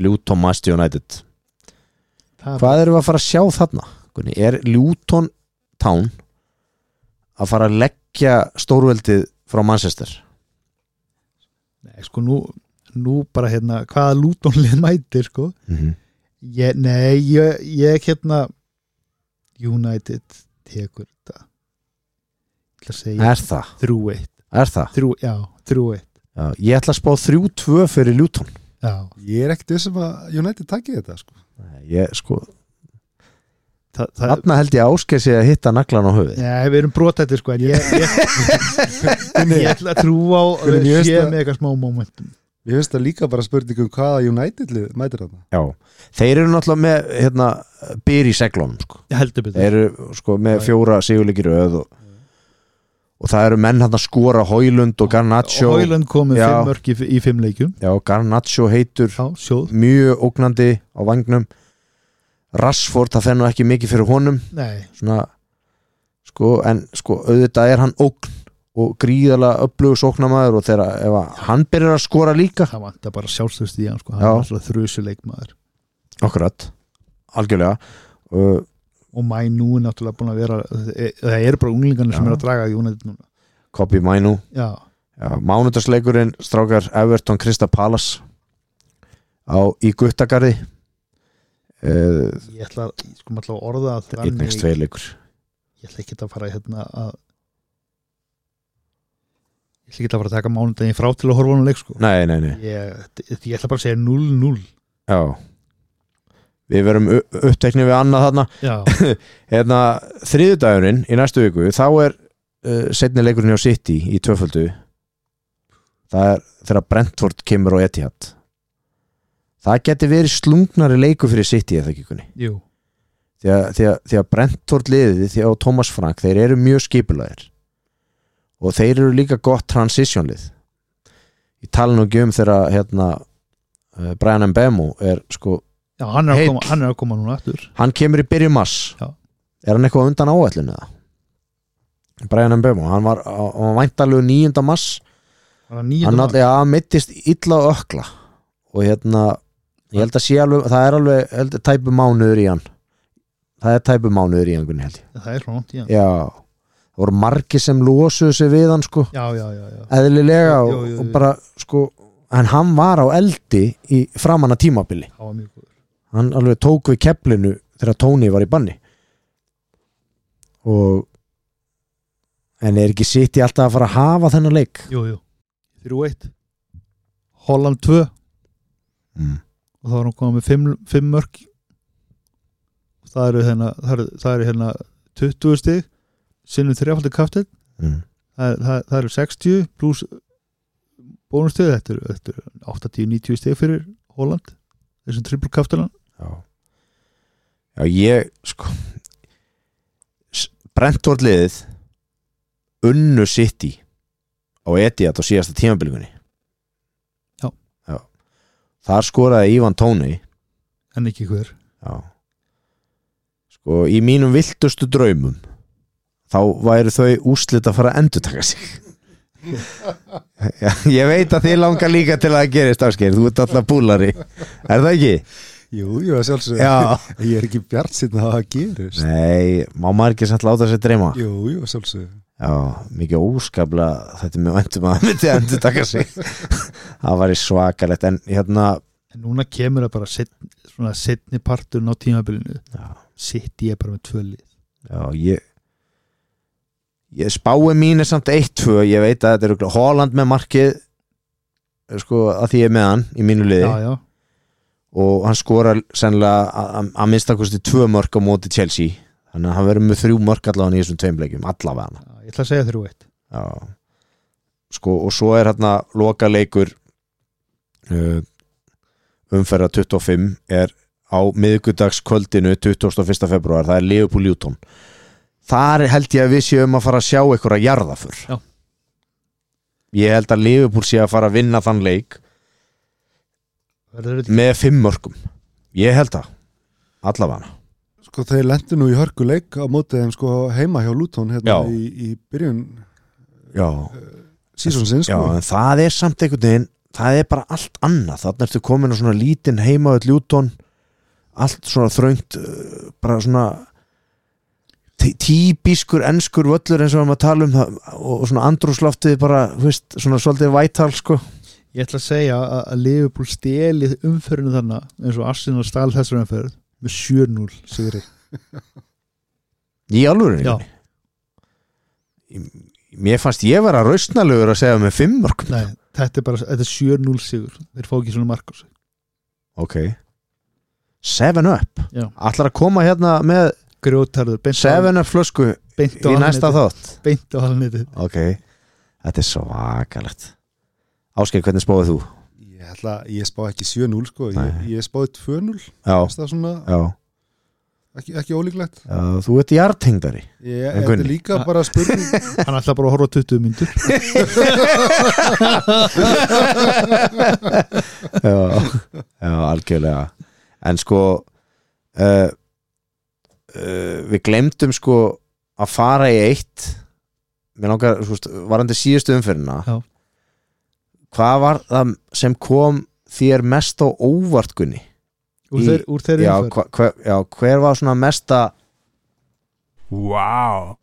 Speaker 2: Luton Master United
Speaker 3: það
Speaker 2: Hvað erum við að fara að sjá þarna? Gunni? Er Luton Town að fara að leggja stórveldið frá Manchester?
Speaker 3: nei, sko nú, nú bara hérna hvaða lútonlið mætir sko
Speaker 2: Mhm.
Speaker 3: ég, nei, ég, ég hérna United tekur þetta ég ætla að segja
Speaker 2: Er það?
Speaker 3: 3-1
Speaker 2: Er það?
Speaker 3: Þrjú- já, 3-1
Speaker 2: Já, ég ætla að spá 3-2 fyrir Luton
Speaker 3: já,
Speaker 4: Ég er ekkert þessum að United takki þetta sko.
Speaker 2: ég, sko,
Speaker 3: það, það,
Speaker 2: Þarna held ég ásker sig að hitta naglan á höfuð
Speaker 3: Nei, við erum brotættir sko en ég, ég, ég ætla að trúa á að
Speaker 4: Hvernig
Speaker 3: við
Speaker 4: ég veist
Speaker 3: séum
Speaker 4: það?
Speaker 3: með eitthvað smá momentum
Speaker 4: Ég finnst það líka bara spurning um hvaða United lið mætir þarna
Speaker 2: Já. Þeir eru náttúrulega með hérna, byr í seglunum sko.
Speaker 3: heldur
Speaker 2: Þeir
Speaker 3: betur
Speaker 2: eru sko, með fjóra sigurleikir öð og, og það eru menn hann að skora Hoylund og Garnaccio
Speaker 3: Hóiland komið
Speaker 2: Já.
Speaker 3: fimm mörg í, í fimm leikjum
Speaker 2: Já, Garnaccio heitur
Speaker 3: já, sjóð,
Speaker 2: mjög ógnandi á vangnum Rashford, það fennu ekki mikið fyrir honum
Speaker 3: nei
Speaker 2: svona, sko, en sko, auðvitað er hann ógn og gríðalega upplögu sóknamaður og þegar ef að hann byrjar að skora líka
Speaker 3: það vantar bara sjálfstöðst í hann sko,
Speaker 2: Já.
Speaker 3: hann er þrjusuleik maður
Speaker 2: okkurat, algjörlega uh,
Speaker 3: og mæ nú er náttúrulega búin að vera e- það eru bara unglingarnir sem
Speaker 2: Já.
Speaker 3: eru að draga United núna
Speaker 2: Kobi Mainu
Speaker 3: já,
Speaker 2: Já, mánudagsleikurinn strákar Everton Krista Palas á í Guttagarði uh,
Speaker 3: ég ætla að- ég sko maður ætla að orða það
Speaker 2: einnigst
Speaker 3: þannig,
Speaker 2: tveileikur
Speaker 3: ég ætla ekki að fara hérna að ég ætla ekki að fara að taka mánudaginn frá til að horfa hún leik sko
Speaker 2: Nei, nei, nei,
Speaker 3: ég, ég ætla bara að segja 0-0
Speaker 2: já Við verum u- uppteknir við annað þarna
Speaker 3: já,
Speaker 2: hérna, þriðudagurinn í næstu viku þá er uh, setni leikurinn hjá City í tvöföldu það er þegar Brentford kemur á Etihad það geti verið slungnari leiku fyrir City eða ekki kunni
Speaker 3: jú
Speaker 2: því að, því að, því að Brentford liðið því að Thomas Frank, þeir eru mjög skipulagir og þeir eru líka gott transitionlið ég tala nú ekki um þegar hérna, eh, Brian Mbemu er sko,
Speaker 3: já, hann er,
Speaker 2: Heill.
Speaker 3: að koma, hann er að koma núna aftur
Speaker 2: hann kemur í byrjum mass
Speaker 3: Já.
Speaker 2: er hann eitthvað undan áætlun eða? Brian Mbemo, hann var, hann var væntalegu 9. mass
Speaker 3: hann er
Speaker 2: hann
Speaker 3: nýjum
Speaker 2: náttúrulega hann mittist illa og ökla og hérna ég held að sé alveg, það er alveg held, að tæpu mánuður í hann það er tæpu mánuður í hann Gunni, held ég
Speaker 3: það er svona langt í hann
Speaker 2: já, það voru margir sem losuðu sig við hann sko,
Speaker 3: já, já, já, já,
Speaker 2: eðlilega
Speaker 3: Jú,
Speaker 2: og,
Speaker 3: jú, jú,
Speaker 2: og
Speaker 3: jú.
Speaker 2: bara sko, en hann var á eldi í framanna tímabili
Speaker 3: það var mjög góður
Speaker 2: hann alveg tók við keflinu þegar Tony var í banni og en er ekki sitt í alltaf að fara að hafa þennan leik
Speaker 3: jú, jú, 3-1 Holland 2
Speaker 2: mm.
Speaker 3: og þá var hann komað með 5, 5 mörg og það eru hérna það eru, það eru hérna 20 stig sinnum þrefaldi kaftin
Speaker 2: Mm.
Speaker 3: það, það, það eru 60 pluss bónustið þetta eru- þetta eru 80-90 stig fyrir Holland þessum triple kaftinan
Speaker 2: Já. Já, ég sko Brentford liðið unnu City á Etihad á síðasta tímabiligunni
Speaker 3: Já.
Speaker 2: Já. Þar skoraði Ivan Tóni
Speaker 3: en ekki hver
Speaker 2: Já. Sko, í mínum viltustu draumum þá væru þau úslit að fara að endurtaka sig Já, ég veit að þið langar líka til að það gerist afskeið, þú ert alltaf búlari er það ekki?
Speaker 4: Jú, jú, sjálfsög
Speaker 2: Já
Speaker 4: Ég er ekki bjart síðan að það gerist
Speaker 2: Nei, má maður ekki satt láta sér dreyma
Speaker 4: Jú, jú, sjálfsög
Speaker 2: Já, mikið óskaplega þetta er mjög væntum að hann myndi að endur taka sig Það var svakalegt en hérna
Speaker 3: en núna kemur það bara set, svona setni parturinn á tímabilinu
Speaker 2: Já.
Speaker 3: sitt ég bara með tvö lið
Speaker 2: Já, ég ég spái mín er samt 1-2 ég veit að þetta er örugglega Holland með markið sko að því ég er með hann í mínu liði
Speaker 3: já, já,
Speaker 2: og hann skorar sennilega að- að- að minnstakosti tvö mörg á móti Chelsea þannig að hann verður með þrjú mörg allavega í þessum tveimleikjum, allavega
Speaker 3: já, ég ætla að segja þrjú eitt
Speaker 2: Já. sko og svo er hérna uh, loka leikur umferða 25 er á miðgudagskvöldinu 21. februar, það er Leopold Ljúton þar held ég að við séum að fara að sjá ykkur að jarða fyrr
Speaker 3: Já.
Speaker 2: ég held að Leopold sé að fara að vinna þann leik
Speaker 3: verður þetta
Speaker 2: með fimm mörgum ég held það, allavega
Speaker 4: Sko þeir lendu nú í hörkuleik á mótið þeim sko heima hjá Luton hérna
Speaker 2: Já.
Speaker 4: í, í byrjun
Speaker 2: já,
Speaker 4: sísonsins
Speaker 2: Já,
Speaker 4: sko.
Speaker 2: en það er samt einhvern veginn það er bara allt annað, þannig ertu komin á svona lítinn heima öll Ljúton allt svona þröngt eh, bara svona tí- típiskur enskur völlur eins og við varum að tala um það, og og svona andrúsloftið bara, þú veist, svona svolítið vætal sko
Speaker 3: Ég ætla að segja að, að Liverpool stelið umferðinu þannig eins og Arsenal stal þessar umferð með 7-0 sigri
Speaker 2: í alvöru
Speaker 3: Já,
Speaker 2: mér fannst ég vera rausnalegur að segja með fimm mörg
Speaker 3: nei, þetta er bara þetta er 7-0 sigur, þeir fá ekki svona mark á sig
Speaker 2: ok Seven Up
Speaker 3: Já.
Speaker 2: ætlar að koma hérna með
Speaker 3: Grjótarður, beint á,
Speaker 2: Seven Up flösku
Speaker 3: beint á
Speaker 2: í næsta
Speaker 3: alnetið,
Speaker 2: þátt
Speaker 3: beint á alnetið
Speaker 2: ok, þetta er svakalegt Ásker, hvernig spóðið þú?
Speaker 4: Ég, ætla, ég spá ekki 7-0 sko, ég,
Speaker 2: Nei.
Speaker 4: ég spáði 2-0
Speaker 2: Já,
Speaker 4: Fannst það svona,
Speaker 2: já,
Speaker 4: ekki, ekki ólíklegt
Speaker 2: já þú ert jartengdari
Speaker 4: ég,
Speaker 2: En
Speaker 4: Þetta
Speaker 2: Gunni?
Speaker 4: er líka bara spurning
Speaker 3: Hann ætla bara að horfa á 20 myndur
Speaker 2: já, já, algjörlega en sko uh, uh, við glemdum sko að fara í eitt mér langar, sko, varandi síðustu umferðina
Speaker 3: Já.
Speaker 2: hvað var það sem kom þér mest á óvart Gunni?
Speaker 3: Úr,
Speaker 2: Í-
Speaker 3: þeir, úr þeirri
Speaker 2: Já, hva,
Speaker 3: umferð
Speaker 2: hver, já, hver var svona mesta
Speaker 1: Wow.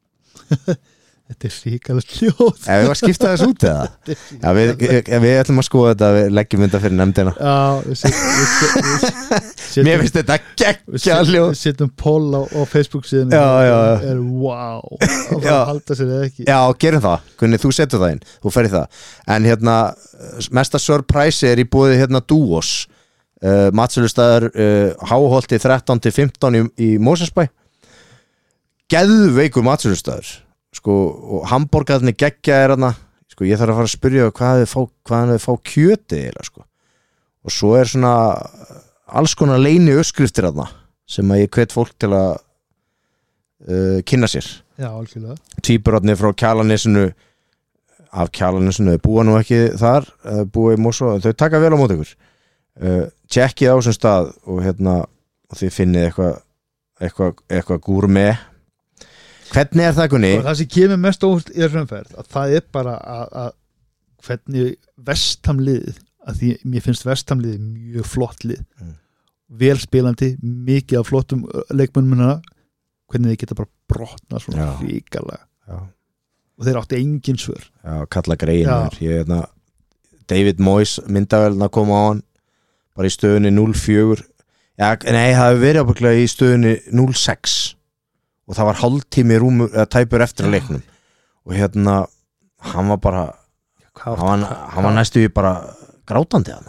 Speaker 3: Þetta er ríkalegt hljóð
Speaker 2: ef við var að skipta þess út eða?
Speaker 3: Þetta er
Speaker 2: Já, við, við, við ætlum að skoða þetta, við leggjum þetta fyrir nefndina
Speaker 3: Já, við set- við set- við setjum
Speaker 2: Mér finnst þetta
Speaker 3: við
Speaker 2: geggja
Speaker 3: set-
Speaker 2: ljó
Speaker 3: við setjum poll á, á Facebook síðan
Speaker 2: Já, já, já.
Speaker 3: er wow að fara
Speaker 2: Já.
Speaker 3: að halda sér eða ekki
Speaker 2: Já, gerum það, Gunni, þú setur það inn þú ferð í það, en hérna mesta surprise er í búið hérna Duos uh, matselustæðar uh, háholti 13-15 í, í Mósesbæ geðveikur matselustæðar sko, og hambúrgarnir geggja er hérna sko, ég þarf að fara að spyrja hvað þau fá, hvaðan þau fá kjöti eða, sko. og svo er svona alls konar leini öskriftir hérna sem að ég hvet fólk til að uh, kynna sér
Speaker 3: Já, algjörlega
Speaker 2: týpurarnir frá kjalanesinu af kjalanesinu, þau búa nú ekki þar, eh, búa í Mosó en þau taka vel á mót ykkur uh, tjekkið á sem stað og hérna og þið finnið eitthvað eitthvað eitthva gúrmi hvernig er það Gunni?
Speaker 3: og það sem kemur mest óvart í þessum umferð að það er bara að, að hvernig vestamliðið að því mér finnst vestamliðið mjög flott lið
Speaker 2: Mm.
Speaker 3: vel spilandi, mikið af flottum leikmönnumina hvernig þið geta bara brotna svona
Speaker 2: Já.
Speaker 3: ríkalega
Speaker 2: Já,
Speaker 3: og þeir áttu engin svör
Speaker 2: já kalla greiðin
Speaker 3: Já.
Speaker 2: þar ég hérna David Moyes myndavelna kom á hann bara í stöðunni 0-4 já, nei, það hefur verið ábygglega í stöðunni 0-6 og það var hálftími rúmur, eða tæpur eftir að leiknum og hérna hann var bara
Speaker 3: Hvað
Speaker 2: hann, var- hann var næstu í bara grátandi hann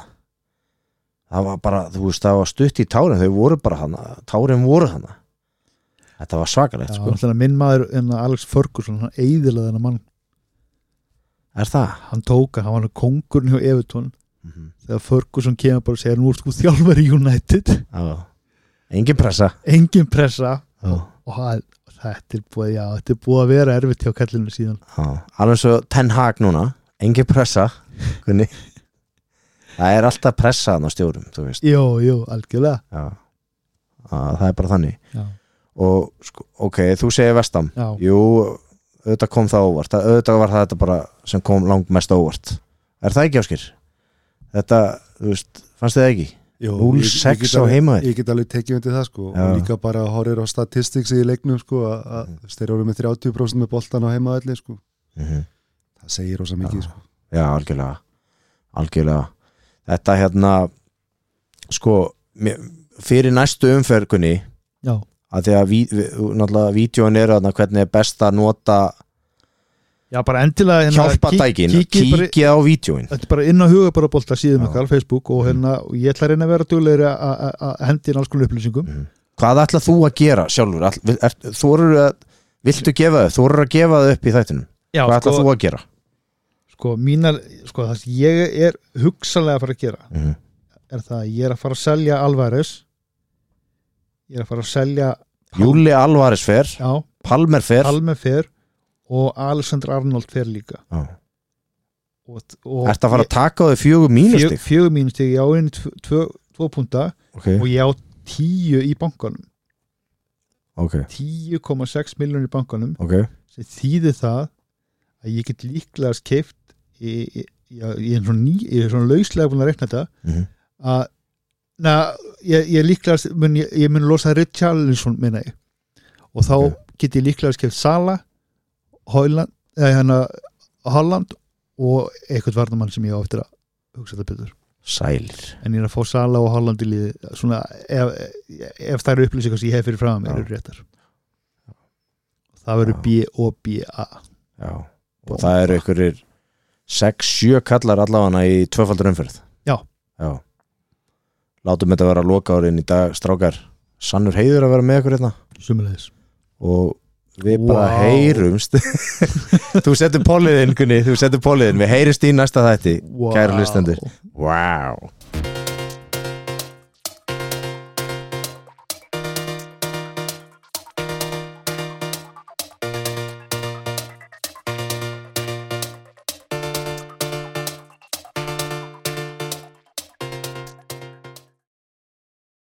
Speaker 2: það var bara, þú veist, það var stutt í tárin þau voru bara hann, tárin voru hann þetta var svakalegt,
Speaker 3: Já,
Speaker 2: sko
Speaker 3: sko. minn maður en Alex Ferguson hann eiðilaði hennar mann
Speaker 2: er það?
Speaker 3: hann tóka, hann var hann kongurinn hjá Evertón
Speaker 2: Mm
Speaker 3: þegar Ferguson kemur bara og segir nú er sko þjálfari United
Speaker 2: -hmm. engin pressa
Speaker 3: engin pressa
Speaker 2: Já.
Speaker 3: og hann, þetta er búið, já, þetta er búið að vera erfitt hjá kallinu síðan
Speaker 2: Já. alveg svo Ten Hag núna engin pressa Gunni. það er alltaf pressa hann á stjórum þú veist
Speaker 3: jú, jú, algjörlega
Speaker 2: Já. Að, það er bara þannig
Speaker 3: já,
Speaker 2: og sko, ok, þú segir vestam
Speaker 3: já,
Speaker 2: Jú, auðvitað kom það óvart Það- auðvitað var það þetta bara sem kom langt mest óvart Er það ekki áskir? Þetta, þú veist, fannst þið það ekki?
Speaker 4: Jó,
Speaker 2: 0-6
Speaker 4: ég- ég get
Speaker 2: á
Speaker 4: alveg-
Speaker 2: heimavelli.
Speaker 4: Ég get alveg tekið undir það sko
Speaker 2: Já.
Speaker 4: og líka bara að horfir á statistics í leiknum sko að- að mm. þeir eru með 30% með boltan á heimaðalli sko
Speaker 2: Mhm.
Speaker 4: það segir ósa mikið sko
Speaker 2: Já, algjörlega Algjörlega Þetta hérna, sko mér, fyrir næstu umfergunni
Speaker 3: já,
Speaker 2: að því að ví, ví- náttúrulega vídjóin er þarna hvernig er best að nota
Speaker 3: já, bara endilega hérna,
Speaker 2: hjálpatækin,
Speaker 3: kík- kíkið bara-
Speaker 2: kíkja á vídjóin
Speaker 3: Þetta er bara inn á hugabarabólta síðum
Speaker 2: Já. Mm.
Speaker 3: okkar á Facebook og, hérna, og ég ætla að reyna að vera duglegri að- að að hendi inn alls konar upplýsingum
Speaker 2: Mm. Hvað ætla þú að gera sjálfur? Ætl, er, þú eru að, viltu gefa þau? Þú eru að gefa þau upp í þættinum
Speaker 3: Já,
Speaker 2: Hvað ætla
Speaker 3: sko,
Speaker 2: þú að gera?
Speaker 3: sko, mínar, sko, það sem ég er hugsanlega að fara að gera
Speaker 2: Mm -hmm.
Speaker 3: er það að ég er að fara að selja Alvarez ég er að fara að selja
Speaker 2: Júli Alvaris fer,
Speaker 3: já,
Speaker 2: Palmer fer
Speaker 3: Palme fer og Alexander Arnold fer líka
Speaker 2: Já.
Speaker 3: og, og
Speaker 2: Ertu að fara að taka á þau fjögur mínustig?
Speaker 3: fjögur mínustig, ég á einu tvo, tvo, tvo punta
Speaker 2: Okay.
Speaker 3: og ég á tíu í bankanum
Speaker 2: ok,
Speaker 3: 10,6 miljonir í bankanum
Speaker 2: ok
Speaker 3: sem þýðir það að ég get líklega skeift ég, ég, ég, ég er svona, ný, ég er svona lauslega búin að rekna þetta
Speaker 2: Mhm.
Speaker 3: að Na, ég, ég líklegast mun, ég, ég mun losa Richarlison minna ég og þá
Speaker 2: Ok.
Speaker 3: get ég líklegast keft Sala Holland, eða, hana, Holland og eitthvað varnamann sem ég á eftir að hugsa þetta betur
Speaker 2: sælir
Speaker 3: en ég er að fá Sala og Holland í liði svona ef, ef það eru upplýsingar sem ég hef fyrir fram að mér
Speaker 2: Já.
Speaker 3: eru réttar það verður
Speaker 2: Já.
Speaker 3: B og BA
Speaker 2: Já. og það eru einhverjir 6-7 kallar allavega í tvöfaldur umferð
Speaker 3: Já.
Speaker 2: Já. látum þetta vera loka árin í dag strákar, sannur heiður að vera með ykkur hérna
Speaker 3: sumulegis
Speaker 2: og við bara
Speaker 3: Vá.
Speaker 2: heyrumst þú setur póliðin Gunni, þú setur póliðin, við heyrist í næsta þætti, Kæru hlustendur. wow